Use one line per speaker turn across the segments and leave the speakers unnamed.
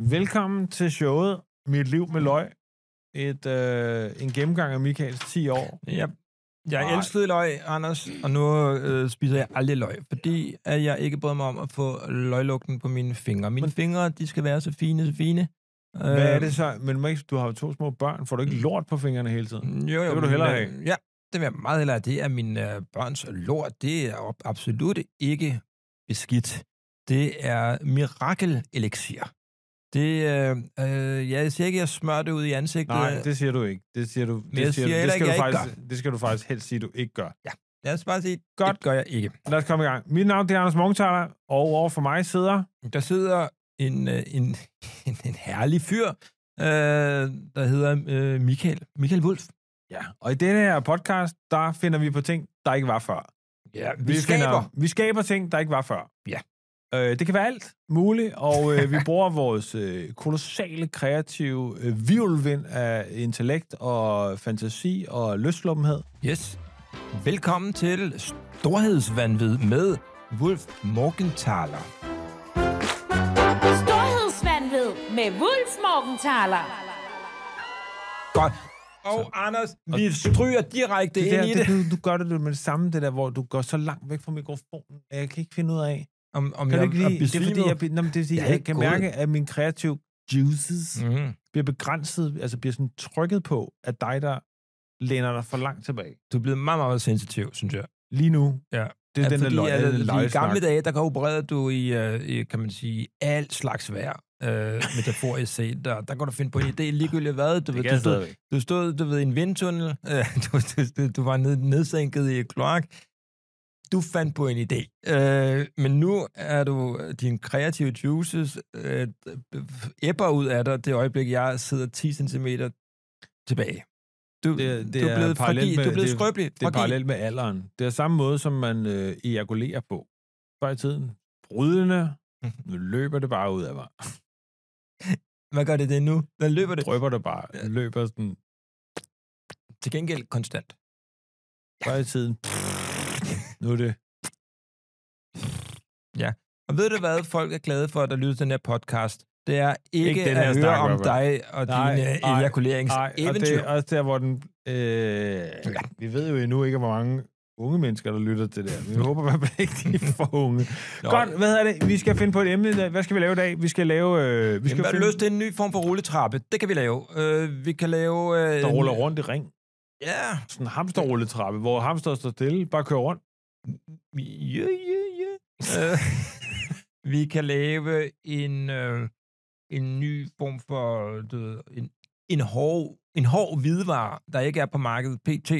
Velkommen til showet Mit Liv med Løg. Et, øh, en gennemgang af Michaels 10 år.
Jeg, jeg
Nej.
elskede løg, Anders, og nu øh, spiser jeg aldrig løg, fordi at jeg ikke bryder mig om at få løglugten på mine fingre. Mine fingre, de skal være så fine, så fine. Øh,
Hvad er det
Øhm.
så? Men må ikke, du har jo to små børn. Får du ikke lort på fingrene hele tiden?
Jo, jo,
Det vil du
men,
hellere
øh, Ja, det vil jeg meget hellere. Det er mine øh, børns lort. Det er op- absolut ikke beskidt. Det er mirakel-elixir. Det, øh, øh, jeg siger ikke, at jeg smører det ud i ansigtet.
Nej, det siger du ikke. Det siger du.
jeg
Det, siger,
siger
du. det,
heller
skal,
ikke,
du
jeg ikke
faktisk, det skal du faktisk helst sige, du ikke gør.
Lad os bare sige,
Godt.
det gør jeg ikke.
Lad os komme i gang. Mit navn det er Anders Morgenthaler, og over for mig sidder...
Der sidder en, øh, en, en, en herlig fyr, øh, der hedder øh, Michael. Michael Wolf.
Ja. Og i denne her podcast, der finder vi på ting, der ikke var før.
Ja, vi, vi skaber.
Finder, vi skaber ting, der ikke var før.
Ja.
Øh, det kan være alt muligt, og øh, vi bruger vores øh, kolossale kreative øh, virvelvind af intellekt og fantasi og løslummenhed.
Yes. Velkommen til Storhedsvandvid med Wolf Morgenthaler.
Storhedsvandved med Wulf Morgenthaler.
Godt. Og så. Anders, vi stryger direkte
Det
ind
der,
i
det,
det.
Du, du gør det med det samme, det der, hvor du går så langt væk fra mikrofonen, at jeg kan ikke finde ud af.
Om, om
Kan du ikke
er
lide? Det er fordi,
besvimet.
jeg, bliver- nå, men det er, fordi,
Jeg er
jeg, jeg
ikke
kan
god.
mærke, at min kreative juices mm.
Mhm.
bliver begrænset, altså bliver sådan trykket på af dig, der læner dig for langt tilbage.
Du er blevet meget, meget sensitiv, synes jeg.
Lige nu.
Ja.
Det er den der løg,
at, øh,
alle
fordi I
løjesnak.
gamle dage, der opererede du i, øh, i, kan man sige, alt slags vejr. Øh, metaforisk set, der, der kan du finde på en idé ligegyldigt hvad. Du, ved, du, stod, du stod du ved, i en vindtunnel, øh, du, du, du, du var ned, nedsænket i et kloak. Du fandt på en idé. Øh, men nu er du, dine kreative juices øh, æbber ud af dig det øjeblik, jeg sidder 10 cm tilbage. Du,
Det- det
du
er
er blevet,
parallelt
fragil,
med-
du er blevet
det-
skrøbelig.
Det er
fragil.
parallelt med alderen. Det er samme måde, som man øh, ejakulerer på. Før i tiden, brydende, nu løber det bare ud af mig.
Hvad gør det det nu? Der løber det.
Drøber det bare. Løber sådan,
Til gengæld konstant.
før i tiden, nu er det
Og ved du hvad folk er glade for, der lytter til den her podcast? Det er ikke,
Ikke den her
at høre
snak,
om
Robert.
dig og
Nej, nej,
dine
Nej, og det
ejakuleringseventyr.
er også der, hvor den... Øh, ja. Vi ved jo endnu ikke, hvor mange unge mennesker, der lytter til det her. Men Vi håber i hvert fald ikke, de er for unge.
Nå,
Godt, hvad hedder det? Vi skal finde på et emne i dag. Hvad skal vi lave i dag? Vi skal lave... Øh, vi
Vi skal
skal
Jamen, finde... lyst til en ny form for rulletrappe. Det kan vi lave. Øh, vi kan lave... Øh,
der ruller
en-
rundt i ring.
Ja.
Sådan en hamsterrulletrappe, hvor hamster står stille, bare kører rundt.
Ja, ja, ja. Øh, vi kan lave en, øh, en ny form for... Du, ved, en, en hård en hård hvidevare, der ikke er på markedet pt.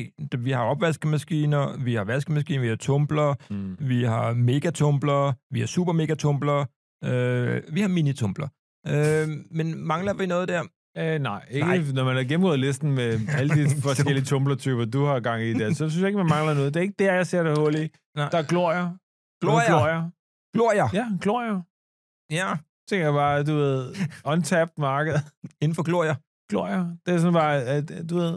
Vi har opvaskemaskiner, vi har vaskemaskiner, vi har tumbler,
Mm.
vi har megatumbler, vi har super megatumbler, øh, vi har minitumbler. Øh, men mangler vi noget der?
Øh, nej, ikke
Nej.
nej. når man har gennemgået listen med alle de forskellige tumblertyper, du har gang i der, så synes jeg ikke, man mangler noget. Det er ikke der, jeg ser det hul i.
Nej.
Der er glorier.
Glorier?
glorier.
Glorier!
Ja, glorier.
Ja,
tænker jeg bare, du ved, untapped marked,
inden for glorier.
glorier. Det er sådan bare, at, øh, du ved,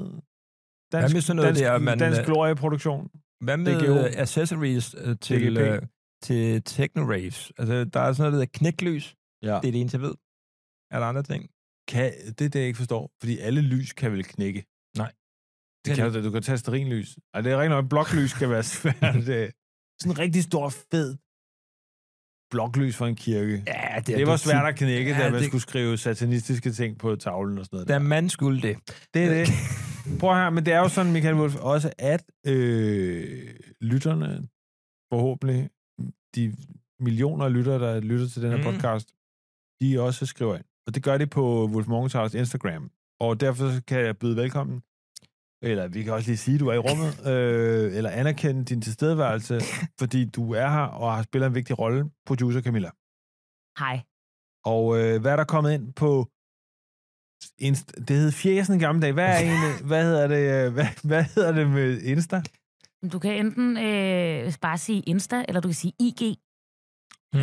dansk,
Hvad med sådan noget
dansk,
der, man-
dansk glorieproduktion.
Hvad med
DGO?
øh, accessories øh, til,
DGP?
øh, til techno-raves? Altså, der er sådan noget, der hedder knæklys.
Ja.
Det er det eneste, jeg ved. Er der andre ting?
Kan, det er det, jeg ikke forstår, fordi alle lys kan vel knække.
Nej.
Det kan du, du kan tage sterinlys. Og det er rent nok, bloklys kan være svært. øh. Det er sådan en rigtig stor, fed bloklys for en kirke. Ja,
Ja,
det, det var svært at knække, ja, da
Ja,
man
det-
det... skulle skrive satanistiske ting på tavlen og sådan noget.
Da man skulle det.
Det er det. Prøv her, men det er jo sådan, Michael Wolf, også at øh, lytterne, forhåbentlig de millioner af lyttere, der lytter til den her
Mm.
mm. podcast, de også skriver ind. Og det gør de på Wolf Morgenthalers Instagram. Og derfor så kan jeg byde velkommen. Eller vi kan også lige sige, at du er i rummet. Øh, eller anerkende din tilstedeværelse, fordi du er her og har spillet en vigtig rolle. Producer Camilla.
Hej.
Og øh, hvad er der kommet ind på... Insta? Det hed fjesen i gamle dage. Hvad, er egentlig, hvad, hedder det, øh, hvad, hvad hedder det med Insta?
Du kan enten øh, bare sige Insta, eller du kan sige IG.
Hmm.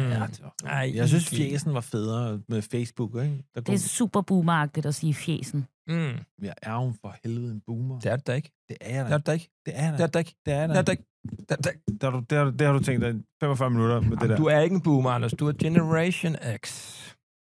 Ej, jeg synes, fjesen var federe med Facebook. Ikke? Der
Det
kunne,
er super boomeragtigt at sige fjesen.
Mm.
jeg er jo for helvede en boomer.
Det er det da ikke.
Det er jeg
Det er
da.
det da ikke.
Det er jeg
Det
da.
er det da ikke.
Det er jeg
Det er det
da. Der,
da ikke. Det er det da ikke.
har du- der, har du- der har du tænkt dig 45 minutter med det
Jamen,
der.
Du er ikke en boomer, Anders. Du er Generation X.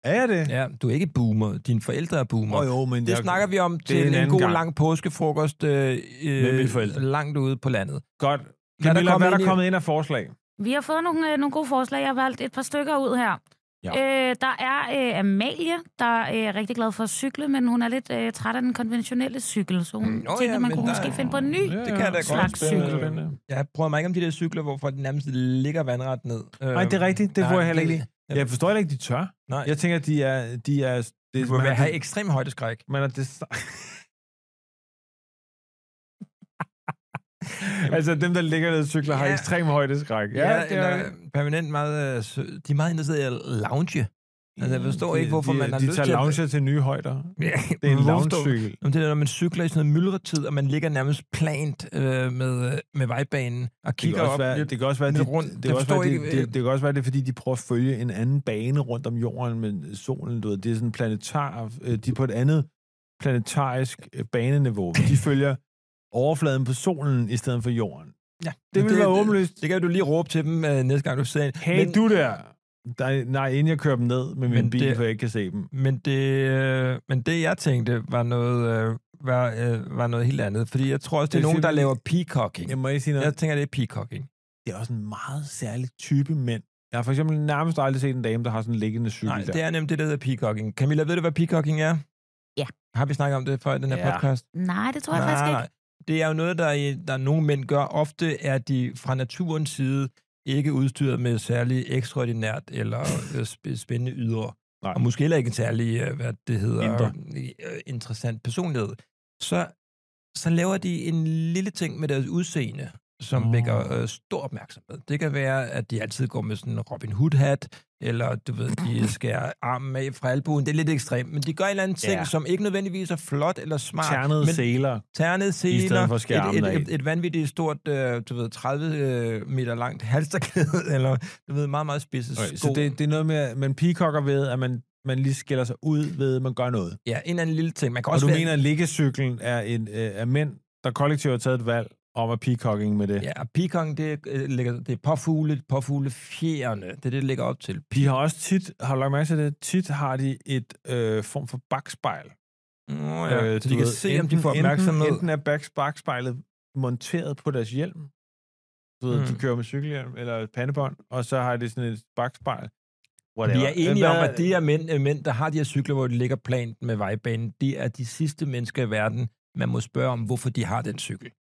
Er jeg det?
Ja, du er ikke boomer. Dine forældre er boomer.
Åh, jo, men
Det
jeg-
snakker vi om
er en
til en,
anden
god
gang.
lang påskefrokost øh,
Med mine forældre.
langt ude på landet.
Godt.
Lad der
Camilla,
komme
hvad er
ind
der
i-
kommet ind af forslag?
Vi har fået nogle, øh, nogle gode forslag. Jeg har valgt et par stykker ud her.
Ja.
Øh, der er øh, Amalie, der er øh, rigtig glad for at cykle, men hun er lidt øh, træt af den konventionelle cykel, så hun
Mm,
mm,
nå ja,
tænker, man
men
kunne
der-
måske finde på en ny.
Ja,
det kan jeg da
ja.
godt.
Slags
Spændende,
cykel.
spændende.
Jeg prøver mig ikke om de der cykler, hvorfor de nærmest ligger vandret ned. Øhm,
Nej, det er rigtigt. Det får jeg heller ikke lide.
Ja.
Jeg forstår heller ikke, de tør.
Nej,
Jeg tænker, de er... De er det,
det, du
man
vil
er-
have ekstrem højdeskræk.
man er design... altså, dem, der ligger nede og cykler, har
Ja.
ekstrem højdeskræk. Ja, ja, det er,
eller permanent meget... øh, sø- De er meget interesserede i at lounge. Altså, jeg forstår
de,
ikke, hvorfor
de,
man har
de
lyst
tager
til at-
lounger til nye højder.
Ja,
Det er en
hvorfor-
loungecykel.
Om det der, når man cykler i sådan noget myldretid, og man ligger nærmest plant øh, med, øh, med vejbanen og
Det kan,
kigger
også
op
være,
lidt.
det kan også være,
lidt
det,
rundt.
det,
Jeg
kan også
forstår
være,
ikke,
det, det,
øh,
det kan også være, det er, fordi de prøver at følge en anden bane rundt om jorden med solen. Du ved. Det er sådan planetar, øh, de er på et andet planetarisk øh, baneniveau. De følger overfladen på solen i stedet for jorden.
Ja,
Det
men
ville være åbenlyst.
Det kan du lige råbe til dem øh, næste gang, du ser en.
Hey, men, du der! der! Nej, inden jeg kører dem ned med min
Men
bil,
det-
for jeg ikke kan se dem.
Men det, øh, men det, jeg tænkte, var noget, øh, var, øh, var noget helt andet. Fordi jeg tror også, det
Det
er
vil
nogen,
sige,
der
vi-
laver peacocking.
Jeg må ikke sige noget.
Jeg tænker, det er peacocking.
Det er også en meget særlig type mænd. Jeg har for eksempel nærmest aldrig set en dame, der har sådan en liggende cykel
Nej,
der.
det er nemlig det, der hedder peacocking. Camilla, ved du, hvad peacocking er?
Ja.
Har vi snakket om det før i den her
Ja.
podcast?
Nej, det tror jeg faktisk ikke.
Det er jo noget, der, i- der nogle mænd gør. Ofte er de fra naturens side ikke udstyret med særlig ekstraordinært eller øh, sp- spændende ydre.
Nej.
og måske heller ikke en særlig, øh, hvad det hedder,
Indre.
øh, interessant personlighed, så, så laver de en lille ting med deres udseende, som
Nå.
oh. vækker øh, stor opmærksomhed. Det kan være, at de altid går med sådan en Robin Hood-hat, eller du ved, de skærer armen af fra albuen. Det er lidt ekstremt, men de gør en eller anden ting,
Ja.
ja. som ikke nødvendigvis er flot eller smart.
Ternede
men
sæler.
ternede seler,
stedet for at skære armen
et,
af.
et, et, et vanvittigt stort, øh, du ved, 30 øh, meter langt halsterklæde, eller du ved, meget, meget spidse
Okay,
sko.
så det, det er noget med, at man peacocker ved, at man, man lige skiller sig ud ved, at man gør noget.
Ja, en eller anden lille ting. Man kan
Og
også
du
være-
mener, at liggecyklen er, en, øh, er mænd, der kollektivt har taget et valg om at peacocking med det.
Ja, og peacocken, det, øh, ligger, det er påfugle, påfuglefjerne. Det er det, det ligger op til.
De har også tit, har du lagt mærke til det, tit har de et øh, form for bakspejl.
Oh, ja. øh, så
du
de kan
ved,
se, om de får opmærksomhed.
Enten, enten er bak, bakspejlet monteret på deres hjelm, du ved, mm. de
Mm.
kører med cykelhjelm eller pandebånd, og så har de sådan et bakspejl.
Vi er enige om,
Øh, Hvad-
at de her mænd, øh, mænd, der har de her cykler, hvor de ligger plant med vejbanen, det er de sidste mennesker i verden, man må spørge om, hvorfor de har den cykel.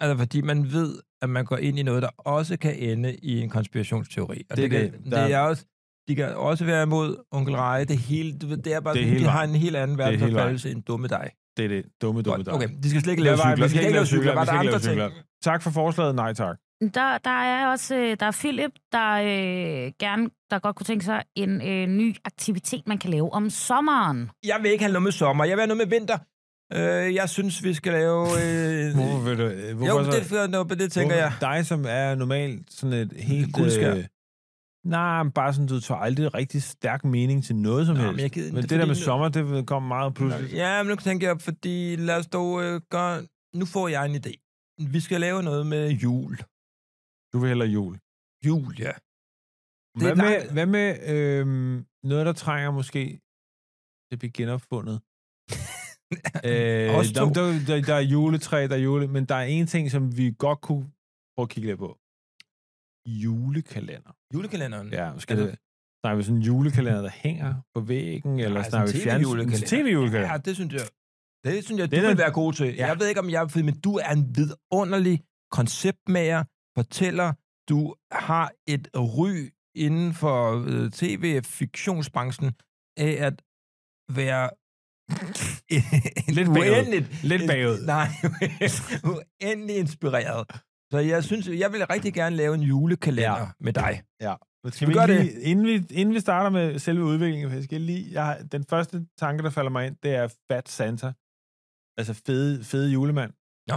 Altså, fordi man ved, at man går ind i noget, der også kan ende i en konspirationsteori. Og
Det er
det, det, kan,
det. Der-
det er også, de kan også være imod onkel Reje. Det, hele, du ved, det er bare,
Det er
sådan,
hele
de har
vejen.
en helt anden
er hele vejen.
verdensopfattelse end dumme dig.
Det er det dumme, dumme
Godt,
dig.
okay, de skal slet ikke lave
Hvad var-
cykler.
vi
De skal ikke lave cykler. Var
vi
der
skal ikke
andre
lave
ting?
cykler. Tak for forslaget. Nej, tak.
Der, der er også øh, der er Philip, der øh, gerne der godt kunne tænke sig en øh, ny aktivitet, man kan lave om sommeren.
jeg vil ikke have noget med sommer, jeg vil have noget med vinter. Øh, jeg synes, vi skal lave... Øh,
Hvorfor vil du... øh, Hvorfor
jo,
så,
det, er for- noget, det tænker jeg.
hvorfor, Dig, som er normalt sådan et helt...
Guldskær.
Øh, nej, men bare sådan, du tager aldrig rigtig stærk mening til noget som
Nå,
helst.
men jeg gider ikke,
men det,
fordi
der med
nu-
sommer, det kom meget pludselig.
Ja, men nu tænker jeg, fordi lad os dog øh, gøre... Nu får jeg en idé. Vi skal lave noget med jul.
Du vil hellere jul.
Jul, ja. Det
Hvad
er
med,
langt-
hvad med øh, noget, der trænger måske til at blive genopfundet? øh,
Os
der,
to.
der, der, der er juletræ, der er jule, men der er en ting, som vi godt kunne prøve at kigge lidt på. Julekalender.
Julekalenderen.
Ja, skal
Altså-
det, snakker vi sådan en julekalender, der hænger på væggen, eller
Nej,
snakker vi
sådan en
fjernsyn?
TV-julekalender.
TV-julekalender.
ja det synes jeg. Det synes jeg, du
Det er
vil
den-
være god til.
Ja.
Jeg ved ikke, om jeg er men du er en vidunderlig konceptmager, fortæller, du har et ry inden for øh, tv-fiktionsbranchen af at være
Lidt bagud.
uendeligt.
Lidt bagud.
Nej, uendelig inspireret. Så jeg synes, jeg vil rigtig gerne lave en julekalender
Ja.
ja. med dig.
Men Skal
vi
vi,
gøre
ikke lige, inden, vi, inden vi starter med selve udviklingen, for jeg skal lige, jeg har, den første tanke, der falder mig ind, det er Fat Santa. Altså fede, fede julemand.
Nå.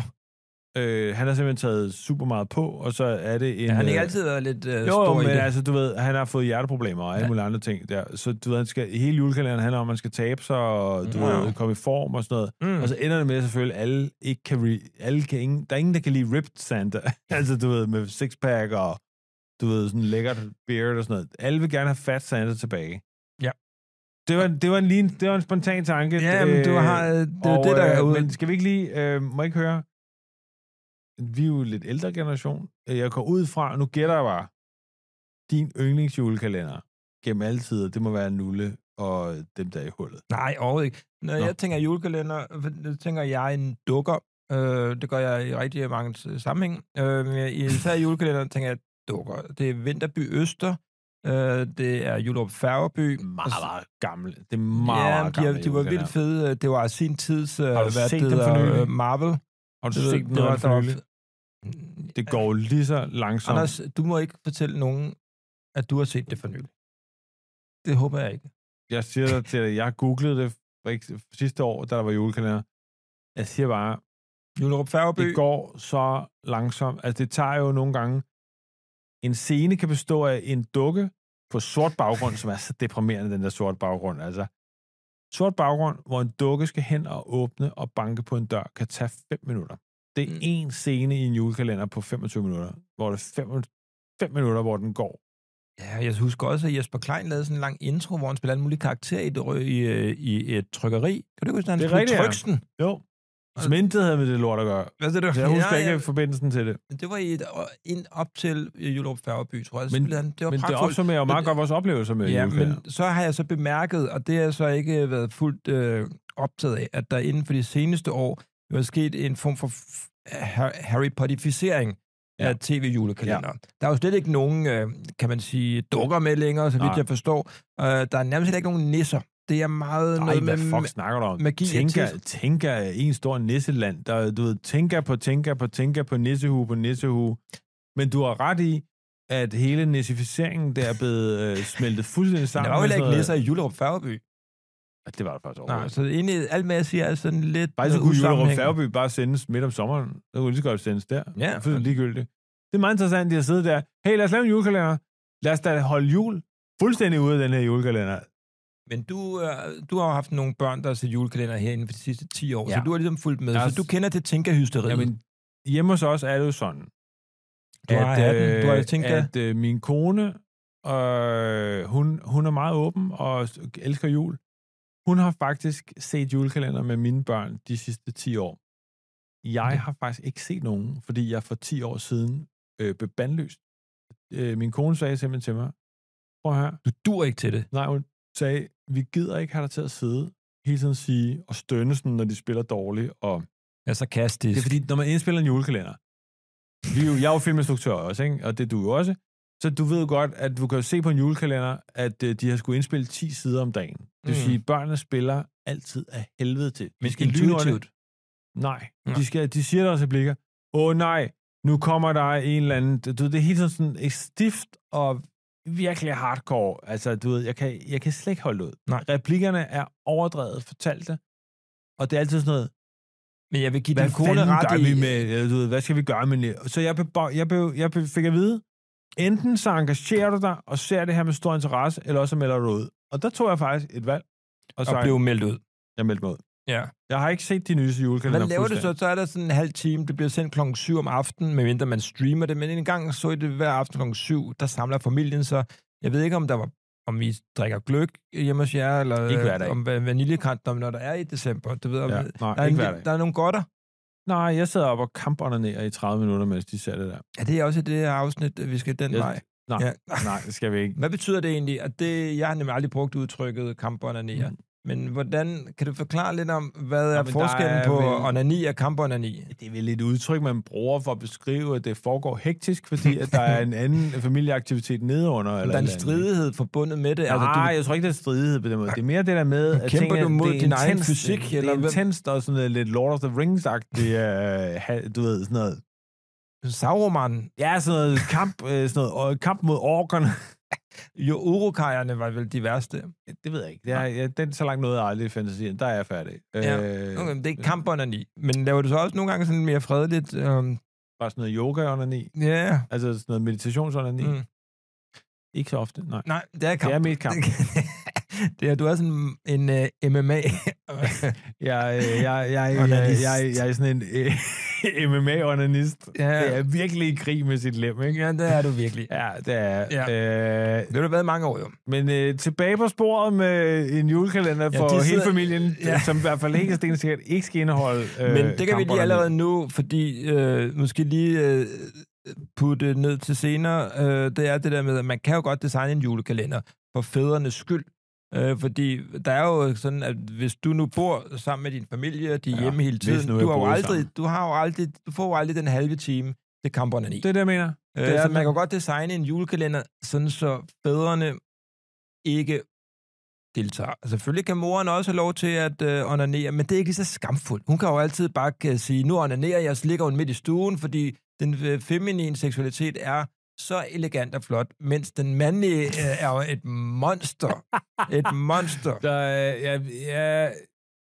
Øh, han har simpelthen taget super meget på, og så er det en...
Ja, han har ikke
øh,
altid været lidt øh,
jo, jo,
stor
men
i det.
altså, du ved, han har fået hjerteproblemer og alle
Ja.
mulige andre ting der. Så du ved, han skal, hele julekalenderen handler om, at man skal tabe sig, og du
Wow.
ved, komme i form og sådan noget.
Mm.
Og så ender det med selvfølgelig, at alle ikke kan, re- alle kan ingen, der er ingen, der kan lide ripped Santa. altså, du ved, med sixpack og, du ved, sådan lækkert beard og sådan noget. Alle vil gerne have fat Santa tilbage.
Ja.
Det var, det var, lige en, det var en spontan tanke.
Ja, men du har, det er jo
og,
det, der er
øh,
ude.
Men skal vi ikke lige, øh, må jeg ikke høre, vi er jo lidt ældre generation. Øh, Jeg går ud fra, nu gætter jeg bare, din yndlingsjulekalender gennem alle tider, det må være Nulle og dem, der er i hullet.
Nej, overhovedet ikke. Når
Nå.
Nå. jeg tænker julekalender, så tænker jeg en dukker. Øh, det gør jeg i rigtig mange øh, sammenhæng. Øh, men jeg- især i julekalenderen tænker jeg dukker. Det er Vinterby Øster. Øh, det er Julerup Færgeby.
Meget, meget gammel. Det er meget,
ja,
meget
de,
gammel
er- de var vildt fede. Det var sin tids... Øh,
Har du set dem for nylig?
øh, Marvel.
Har du
Det-
set
det var,
noget
der var, Mm,
Det går lige så langsomt.
Anders, du må ikke fortælle nogen, at du har set det for nylig. Det håber jeg ikke.
jeg siger dig til dig, jeg googlede det for ikke- sidste år, da der var julekalender. Jeg siger bare,
Julerup Færgeby.
det går så langsomt. Altså, det tager jo nogle gange... En scene kan bestå af en dukke på sort baggrund, som er så deprimerende, den der sort baggrund. Altså, sort baggrund, hvor en dukke skal hen og åbne og banke på en dør, kan tage 5 minutter. Det er
Mm.
én scene i en julekalender på 25 minutter, hvor det er 5, 5 minutter, hvor den går.
Ja, jeg husker også, at Jesper Klein lavede sådan en lang intro, hvor han spillede alle mulige karakterer i et, rø- i, øh, i et trykkeri. Kan du ikke huske, at han
Det er
spillede
rigtigt, ja.
Tryksen?
Jo. Som intet havde med det lort at gøre.
Hvad er det?
Så jeg husker ja, ja. ikke forbindelsen til det.
Det var i et, og ind op til øh, Jyllup Færgeby, tror jeg.
Men-
Men, han, det var
Men det
pragtfuldt.
opsummerer jo meget
Men-
godt vores oplevelser med
Ja,
julekalender.
men så har jeg så bemærket, og det har jeg så ikke øh, været fuldt øh, optaget af, at der inden for de seneste år jo er sket en form for f- Har- Harry Potterificering
Ja.
ja. af tv-julekalender. Ja. Der er jo slet ikke nogen, øh, kan man sige, dukker med længere, så vidt
Nej.
jeg forstår. Øh, der er nærmest heller ikke nogen nisser. Det er meget
Nej,
noget
hvad
med...
fuck snakker du om?
magi og
Tænker,
tids-
tænker er en stor nisseland. Der, du ved, tænker på tænker på tænker på nissehue på nissehue. Men du har ret i, at hele nissificeringen der er blevet øh, smeltet fuldstændig
Der
sammen.
var jo
med
heller
sådan
ikke nisser
noget-
i Jullerup Færgeby.
Ja, Det var der faktisk
Nej,
overhovedet.
så egentlig alt med, jeg siger, er sådan lidt
Faktisk så
øh,
kunne Jyllerup
usammenhængende.
Færgeby bare sendes midt om sommeren. Så kunne det lige så godt sendes der.
Ja,
Det er fuldstændig ligegyldigt. Det er meget interessant, at de har siddet der. Hey, lad os lave en julekalender. Lad os da holde jul fuldstændig ude af den her julekalender.
Men du, øh, du har jo haft nogle børn, der har set julekalender herinde for de sidste 10 år, ja.
Ja.
så du har ligesom fulgt med.
Jeg har
Så du
s-
kender til tænkerhysteriet.
Jamen, hjemme hos os er det jo sådan,
Du har hatten. Du har tænkt dig-
at øh, min kone, øh, hun, hun er meget åben og s- elsker jul. Hun har faktisk set julekalender med mine børn de sidste 10 år. Jeg har faktisk ikke set nogen, fordi jeg for 10 år siden øh, blev bandlyst. Øh, min kone sagde simpelthen til mig, prøv her,
du dur ikke til det.
nej, hun sagde, vi gider ikke have dig til at sidde hele tiden sige og stønne sådan, når de spiller dårligt, og
Jeg er sarkastisk.
det er fordi, når man indspiller en julekalender, vi er jo, jeg er jo filminstruktør også, ikke? og det er du jo også, så du ved jo godt, at du kan jo se på en julekalender, at øh, de har skulle indspille 10 sider om dagen. Det vil
Mm.
sige, at børnene spiller altid af helvede til. De
men
skal lynhurtigt-
intuitivt.
Nej.
Nej.
De, skal, de siger der også i blikker, åh nej, nu kommer der en eller anden... Du ved, det er helt sådan, sådan et stift og virkelig hardcore. Altså, du ved, jeg kan, jeg kan slet ikke holde det ud.
Nej.
Replikkerne er overdrevet fortalte, og det er altid sådan noget,
Men jeg vil give
hvad
din kone
fanden
ret
gør
i...
vi med, eller du ved, hvad skal vi gøre med det? Så jeg, blev, bare- jeg, blev, jeg blev, fik at vide, enten så engagerer du dig og ser det her med stor interesse, eller også så melder du dig ud. Og der tog jeg faktisk et valg, og så
Og blev meldt ud.
jeg meldte mig ud.
Ja.
Jeg har ikke set de nyeste julekalender.
Hvad laver du
fuldstændig.
så? Så er der sådan en halv time. Det bliver sendt klokken 7 om aftenen, medmindre man streamer det. Men en gang så I det hver aften klokken 7. Der samler familien sig. Jeg ved ikke, om der var om I drikker gløk hjemme hos jer, eller
Ikke hver dag.
øh, om va- vaniljekrant, når- når der er i december. Du ved, om,
Ja,
ja.
nej,
der, er
ikke hver dag.
en, der er nogle godter.
Nej, jeg sidder op og kampåndernerer i 30 minutter, mens de ser det der.
Ja, det er også i det her afsnit, at vi skal den
Jeg-
vej.
nej.
Ja.
Nej, det skal vi ikke.
Hvad betyder det egentlig? At det, jeg har nemlig aldrig brugt udtrykket kampåndanier.
Mm.
Mm. Men hvordan, kan du forklare lidt om, hvad er
men der
forskellen
er
på
vel-
onani og kampåndani?
Det er vel et udtryk, man bruger for at beskrive, at det foregår hektisk, fordi at der er en anden familieaktivitet nedenunder. Eller
Der er en
et eller andet.
stridighed forbundet med det.
Altså,
du,
Nej, jeg tror ikke, det er stridighed på den måde. Det er mere det der med, at
Kæmper
tingene-
du mod
det er
din egen
intenst,
fysik,
Det,
eller
det er
hvem?
intenst og sådan noget, lidt Lord of the Rings-agtigt, øh, ha- du ved, sådan noget.
Sauroman,
Ja, sådan noget kamp, øh, sådan noget, øh, kamp mod orkerne.
jo urukajerne var vel de værste.
Det ved jeg ikke. Det er, jeg, den så langt noget jeg aldrig i fantasien. Der er jeg færdig.
Ja.
Øh,
Okay, men det er kampåndani. Men laver du så også nogle gange sådan mere fredeligt? øhm,
Bare sådan noget yoga under ni.
Ja.
Altså sådan noget meditationsonani. Mm.
Mm.
Ikke så ofte, nej.
Nej, det er kamp.
Det er mit kamp.
Det- Det er, du er sådan en uh, MMA.
Jeg, øh, jeg, jeg, jeg, jeg,
Onanist.
jeg, jeg er sådan en øh, MMA-onanist.
Ja.
Det er virkelig i krig med sit lem, ikke?
ja, det er du virkelig.
Ja, det er.
Ja.
Ja. Øh,
Det har du været i mange år, jo.
men øh, tilbage på sporet med en julekalender
Ja,
for
de
ja, hele
sidder-
familien, ja.
Ja.
som i hvert fald ikke er sikkert ikke skal indeholde øh,
Men det kan vi lige
kampbollerne.
allerede nu, fordi øh, måske lige øh, putte ned til senere, øh, det er det der med, at man kan jo godt designe en julekalender for fædrenes skyld. Øh, fordi der er jo sådan, at hvis du nu bor sammen med din familie, og de er
Ja,
ja, hjemme hele
hvis
tiden,
nu jeg
du, har jo
boede
aldrig,
sammen.
du, har jo aldrig, du får jo aldrig den halve time til kamperne i.
Det er det, jeg mener.
Øh,
det er,
så
at man-
man kan godt designe en julekalender, sådan så fædrene ikke deltager. Og Selvfølgelig kan moren også have lov til at øh, onanere, men det er ikke så skamfuldt. Hun kan jo altid bare kan sige, nu onanerer jeg, og så ligger hun midt i stuen, fordi den øh, feminine seksualitet er så elegant og flot, mens den mandlige øh, er jo et monster. Et monster.
Der, er- jeg, jeg,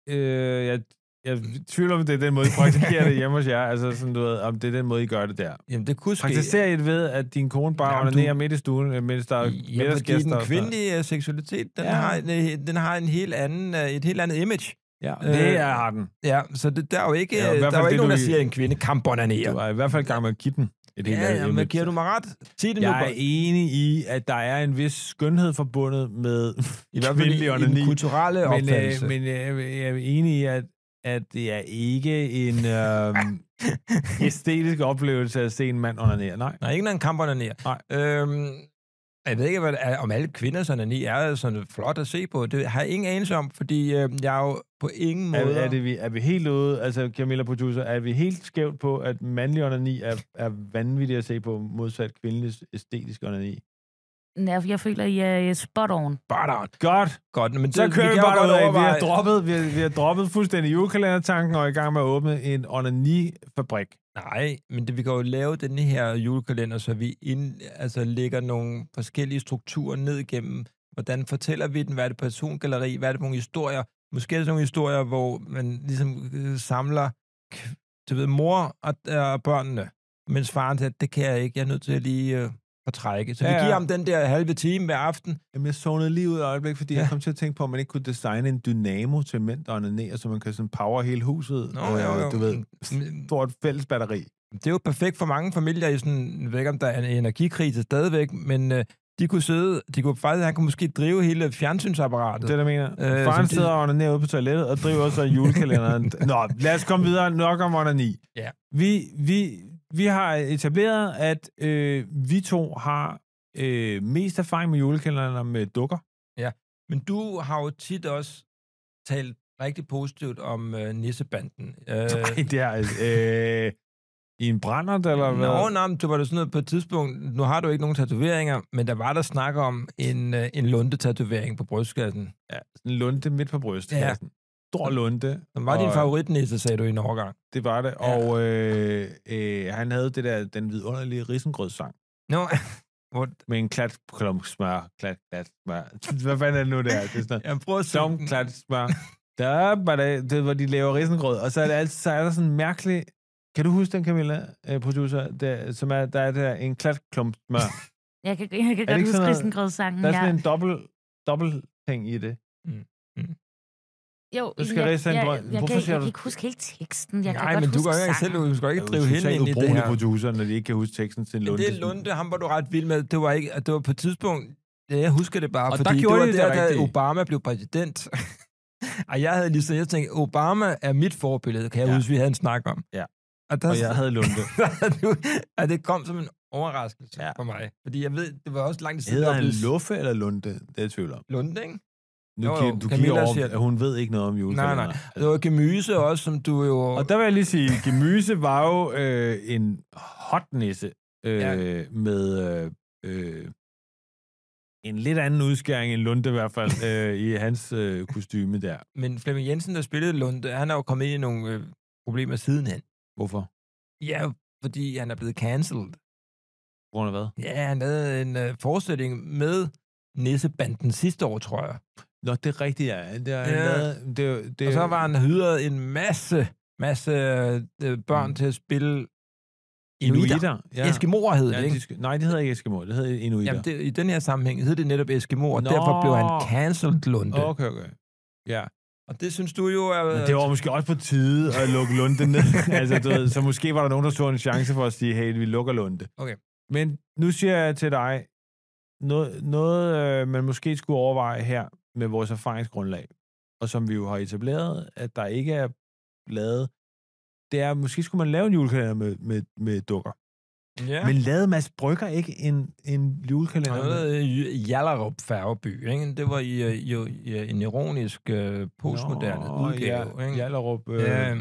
øh, jeg, jeg tvivler om, det er den måde, I praktiserer det hjemme hos jer. Altså, sådan, du ved, om det er den måde, I gør det der.
Jamen, det kunne ske.
Praktiserer I det ved, at din kone bare
Jamen, du-
onanerer midt i stuen, øh, mens der er
Ja, fordi
middagsgæster?
den
og sådan noget?
kvindelige øh, seksualitet, den,
Ja.
ja. har, en, øh, den har en helt anden, øh, et helt andet image.
Ja, det
Øh,
er, har den.
Ja, så det, der er jo ikke,
Ja, i hvert
ja,
fald
der er jo
det,
ikke nogen,
du-
der siger, at en kvinde kan
Du
bonanere.
er i hvert fald i gang med at give den. Et helt
Ja,
andet
ja, men
image.
giver du mig ret? Sig det nu
Jeg er
bare.
enig i, at der er en vis skønhed forbundet med
I hvert fald
kvindelig
i, i den
onani.
kulturelle
Men,
opfattelse.
øh, men øh, jeg er enig i, at, at det er ikke en øh, æstetisk oplevelse at se en mand onanere. Nej.
Nej, ikke når en kamp onanerer.
Nej.
Øhm, jeg ved ikke, hvad, er- om alle kvinders onani er sådan flot at se på. Det har jeg ingen anelse om, fordi øh, jeg er jo på ingen måde...
Er, er, det, vi, er vi helt ude, altså Camilla producer, er vi helt skævt på, at mandlig onani er, er vanvittigt at se på modsat kvindelig æstetisk onani?
Ja, jeg føler, I er spot on.
bare down.
Godt,
Godt, men det,
så kører vi,
kan jo
bare
godt
derudad. Vi har,
overveje-
droppet, vi, har, vi har droppet fuldstændig julekalendertanken og er i gang med at åbne en onani-fabrik.
Nej, men det, vi kan jo lave den her julekalender, så vi ind, altså, lægger nogle forskellige strukturer ned igennem. Hvordan fortæller vi den? Hvad er det persongalleri? Hvad er det for nogle historier? Måske er det sådan nogle historier, hvor man ligesom øh, samler k- du ved, mor og, og børnene, mens faren siger, det kan jeg ikke, jeg er nødt til at lige øh, at trække. Så ja,
Ja,
vi
ja.
giver ham den der halve time hver aften.
Jamen, jeg zonede lige ud et øjeblik, fordi ja. jeg kom til at tænke på, om man ikke kunne designe en dynamo til mænd, der onanerer, så man kan sådan power hele huset. Øh,
Nå, jo, jo. Mm.
Du ved,
Men-
stort fælles batteri.
Det er jo perfekt for mange familier i sådan, jeg ved ikke om der er en energikrise stadigvæk, men øh, de kunne sidde, de kunne faktisk, han kunne måske drive hele
Det
fjernsynsapparatet.
er det, jeg mener. Øh,
Øh,
Faren
som det-
sidder og onanerer ude på toilettet og driver så julekalenderen. Nå, lad os komme videre. Nok om onani.
Ja.
Vi, vi, vi har etableret, at øh, vi to har øh, mest erfaring med julekalenderen med dukker.
Men du har jo tit også talt rigtig positivt om øh, nissebanden. Øh,
Øh. Det er øh, i en brændert, eller hvad?
Nå, nå, men det var da sådan noget på et tidspunkt, nu har du ikke nogen tatoveringer, men der var der snak om en, øh, en lundetatovering på brystkassen.
Ja, sådan en lunde midt på brystkassen. Ja. Stor lunde.
Den var
Og-
din favoritnisse, sagde du i en overgang.
Det var det.
Ja.
Og øh, øh, han havde det der, den vidunderlige risengrødsang.
Nå, hvor,
Med en klat, klump, smør, klat, klat, smør. Hvad fanden er det nu, det er? Det er sådan noget.
jeg prøver at synge
Dum,
den.
klat, smør. Der var det, det, er, hvor de laver risengrød. Og så er, det altid, så er der sådan en mærkelig... Kan du huske den, Camilla, øh, producer? Der, som er, der er der en klat, klump, smør.
Jeg kan, jeg kan
ikke
godt huske
sådan noget-
Risengrødssangen.
Der er sådan
Ja.
en dobbelt, dobbelt ting i det.
Jo,
du skal
jeg,
ridse en
jeg,
grøn.
jeg, jeg,
Hvorfor
kan,
siger
jeg
du-
kan ikke huske hele teksten. Jeg
Nej,
kan
men
godt
du
huske
kan jo ikke selv,
sangen.
du skal jo ikke
Det
drive
er jo
hende
totalt
ind i det
ubrugelige
her.
producer, når de ikke kan huske teksten til en
Men
lunde.
det er Lunde, ham var du ret vild med. Det var ikke, at det var på et tidspunkt, ja, jeg husker det bare,
Og der
fordi det
gjorde
var
de det
der, da
rigtige.
Obama blev præsident. og jeg havde lige så, jeg tænkte, Obama er mit forbillede, kan jeg
Ja.
ja. huske, vi havde en snak om.
Ja.
Og der,
Og jeg havde lunde.
at det kom som en overraskelse
Ja.
ja. for mig. Fordi jeg ved, det var også langt siden,
Hedder
jeg
han
blev
Luffe eller Lunde? Det er jeg i tvivl om.
Lunde, ikke?
Nu
Jo,
jo,
jo,
jo. Du kigger
Camilla
over,
siger-
at hun ved ikke noget om
Nej,
julekalender.
nej. Det var Gemyse også, som du jo...
Og der vil jeg lige sige, Gemyse var jo øh, en hotnisse øh, ja.
Ja.
med øh, øh, en lidt anden udskæring end Lunde i hvert fald øh, i hans øh, kostyme der.
Men Flemming Jensen, der spillede Lunde, han er jo kommet ind i nogle øh, problemer sidenhen.
Hvorfor?
Ja, fordi han er blevet cancelled.
På grund af hvad?
Ja, han havde en øh, forestilling med Nissebanden sidste år, tror jeg.
Nå, det er rigtigt, ja. Det er,
Ja.
ja. det, det,
Og så var han hyret en masse, masse øh, børn
Mm.
til at spille Inuiter.
Ja.
Ja. Eskimoer hed det,
Ja,
ikke?
de, skal- nej, det hedder ikke Eskimo, det hedder Inuiter.
Jamen, det, i den her sammenhæng hed det netop Eskimo, og
Nå.
derfor blev han cancelled, Lunde. Okay.
Okay, okay. Ja,
Og det synes du jo er...
men det var måske også på tide at lukke Lunde ned. altså, du ved, så måske var der nogen, der så en chance for at sige, hey, vi lukker Lunde.
Okay.
Men nu siger jeg til dig, noget, noget øh, man måske skulle overveje her med vores erfaringsgrundlag, og som vi jo har etableret, at der ikke er lavet, det er, måske skulle man lave en julekalender med, med, med dukker.
Ja.
Ja. Men lavede Mads Brygger ikke en, en julekalender? med?
Noget øh, Jallerup Færgeby, ikke? Det var i, øh, jo i, øh, en ironisk øh, postmoderne
Nå,
udgave,
ja,
ikke?
Jallerup. Øh,
Ja.
ja,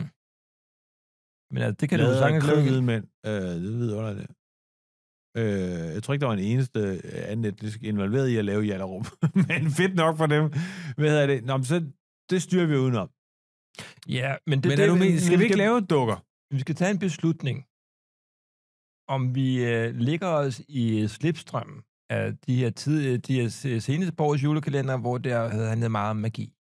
Men altså, det
kan
kan du jo sagtens
lave?
lave.
mænd. Øh, det ved under det. Øh, jeg tror ikke, der var en eneste øh, anden etnisk involveret i at lave Jallerup. men fedt nok for dem. Hvad hedder det? Nå, men så, det styrer vi udenom.
Ja, men det,
Det, men
det,
er du med, skal vi ikke lave dukker?
Vi skal tage en beslutning, om vi øh, ligger os i øh, slipstrømmen af de her, tid, øh, de her se- seneste par års julekalender, hvor der havde handlet meget om magi.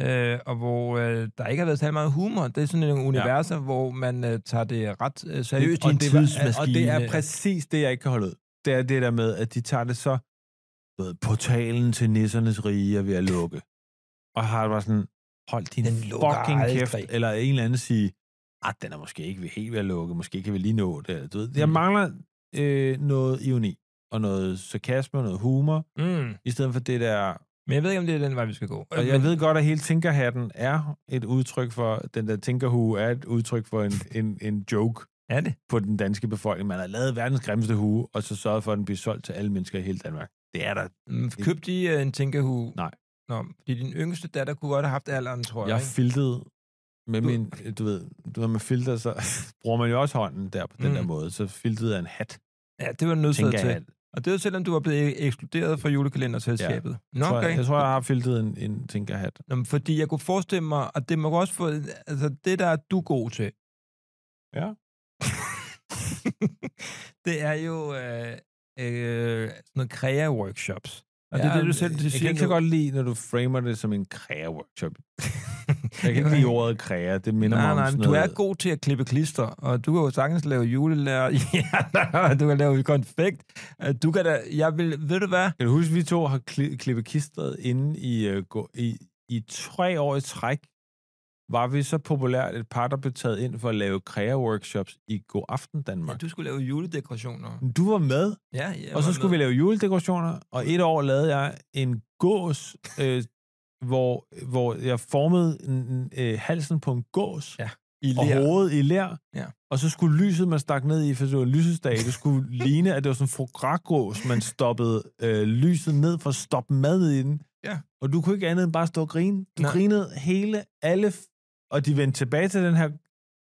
Øh, og hvor øh, der ikke har været særlig meget humor. Det er sådan nogle universer, ja. hvor man øh, tager det ret øh, seriøst i en
det var-
tidsmaskine. øh.
og det er præcis det, jeg ikke kan holde ud. Det er det der med, at de tager det så... du Ved, portalen til nissernes rige er ved at lukke. Og har det bare sådan, hold din
Den lukker
fucking
aldrig.
kæft. Eller en eller anden sige, at den er måske ikke ved- helt ved at lukke. Måske kan vi lige nå det. eller Du ved, jeg
Mm.
mangler øh, noget ironi og noget sarkasme og noget humor,
Mm.
i stedet for det der...
Men jeg ved ikke, om det er den vej, vi skal gå. Øh,
Og jeg ved godt, at hele tinkerhatten er et udtryk for... Den der tinkerhue er et udtryk for en, en, en joke
er det?
på den danske befolkning. Man har lavet verdens grimmeste hue, og så sørget for, at den bliver solgt til alle mennesker i hele Danmark. Det er der.
Mm, Købte I øh, en tænkehu?
Nej.
Nå, fordi din yngste datter kunne godt have haft alderen, tror jeg.
Jeg
ikke?
filtede med
Du-
min, du ved, du, når man filter, så bruger man jo også hånden der på den
Mm.
der måde. Så filtede jeg en hat,
Ja, det var du nødt til.
tænker jeg.
Og det var selvom du var blevet e- ekskluderet fra julekalenderselskabet. Ja. Nå,
Tror
okay.
jeg, jeg tror, jeg har filtet en, en tinkerhat.
Nå, men fordi jeg kunne forestille mig, og det må også få, altså det der er du god til.
Ja.
det er jo øh, øh, sådan noget krea-workshops. Og ja, det er det, du selv
jeg
siger
kan ikke så
nu.
godt lide, når du framer det som en kræa-workshop. Jeg kan
Jo,
ikke lide ordet kræa, det minder mig
Nej,
om
nej,
sådan
men du er
noget-
god til at klippe klister, og du kan jo sagtens lave julelærer, ja, du kan lave konfekt. Øh, Du kan da, jeg vil, ved du hvad?
Kan du huske, vi to har kli- klippet kistret inde i, øh, gå- i, i tre år i træk? Var vi så populært et par, der blev taget ind for at lave krea-workshops i God Aften Danmark?
Du skulle lave juledekorationer.
Du var med,
Ja, jeg
og så skulle vi lave juledekorationer, og et år lavede jeg en gås, øh, hvor, hvor jeg formede en, en, øh, halsen på en gås
Ja,
i
i
og
ler.
hovedet i lær.
Ja.
Og så skulle lyset, man stak ned i, for det var lysesdag, det skulle ligne, at det var sådan en frugrægås, man stoppede øh, lyset ned for at stoppe mad i den.
Ja.
Og du kunne ikke andet end bare stå og grine. Du
Nej.
Nej. grinede hele, alle, f- og de vendte tilbage til den her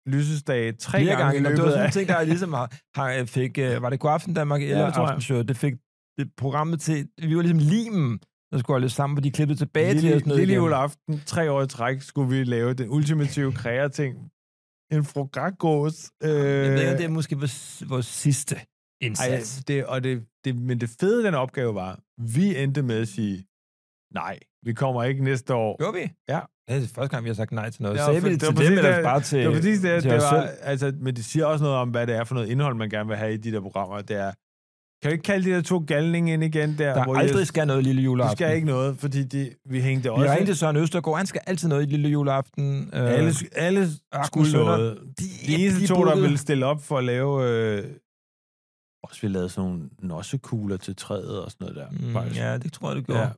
lysesdag tre
flere
gange,
gange.
i
gange og det var
løbet
sådan
af...
en ting, der ligesom har, har, fik, øh, var det god aften Danmark eller
det tror jeg.
aftenshow, det fik det programmet til, vi var ligesom limen, der skulle holde sammen, hvor de klippede tilbage til
Lille,
os noget
lille
igen.
juleaften, tre år i træk, skulle vi lave den ultimative kreating. En frugrægås. Øh,
Jeg ved ikke, det er måske vores, vores sidste indsats.
Ej, det, og det, det, men det fede i den opgave var, vi endte med at sige, nej, vi kommer ikke næste år.
Gjorde vi?
Ja.
Det er første gang, vi har sagt nej til noget.
Ja,
Sagde
for-
vi det
det var
til
præcis
dem, eller
det-
bare til,
det var præcis det,
til
det
os
var,
selv?
altså, men det siger også noget om, hvad det er for noget indhold, man gerne vil have i de der programmer. Det er, kan vi ikke kalde de der to galninge ind igen der?
Der
hvor
aldrig
I,
skal noget lille
de
juleaften.
skal ikke noget, fordi de, vi hængte
Vi
også...
ringede til Søren Østergaard, han skal altid noget i lille juleaften. Øh,
alle, alle skulle
Sønder.
noget.
de,
De eneste
de
to, der
bookede.
ville stille op for at lave... Øh, også vi lavede sådan nogle nossekugler til træet og sådan noget der.
Mm,
faktisk.
ja, det tror jeg, du gjorde.
ja.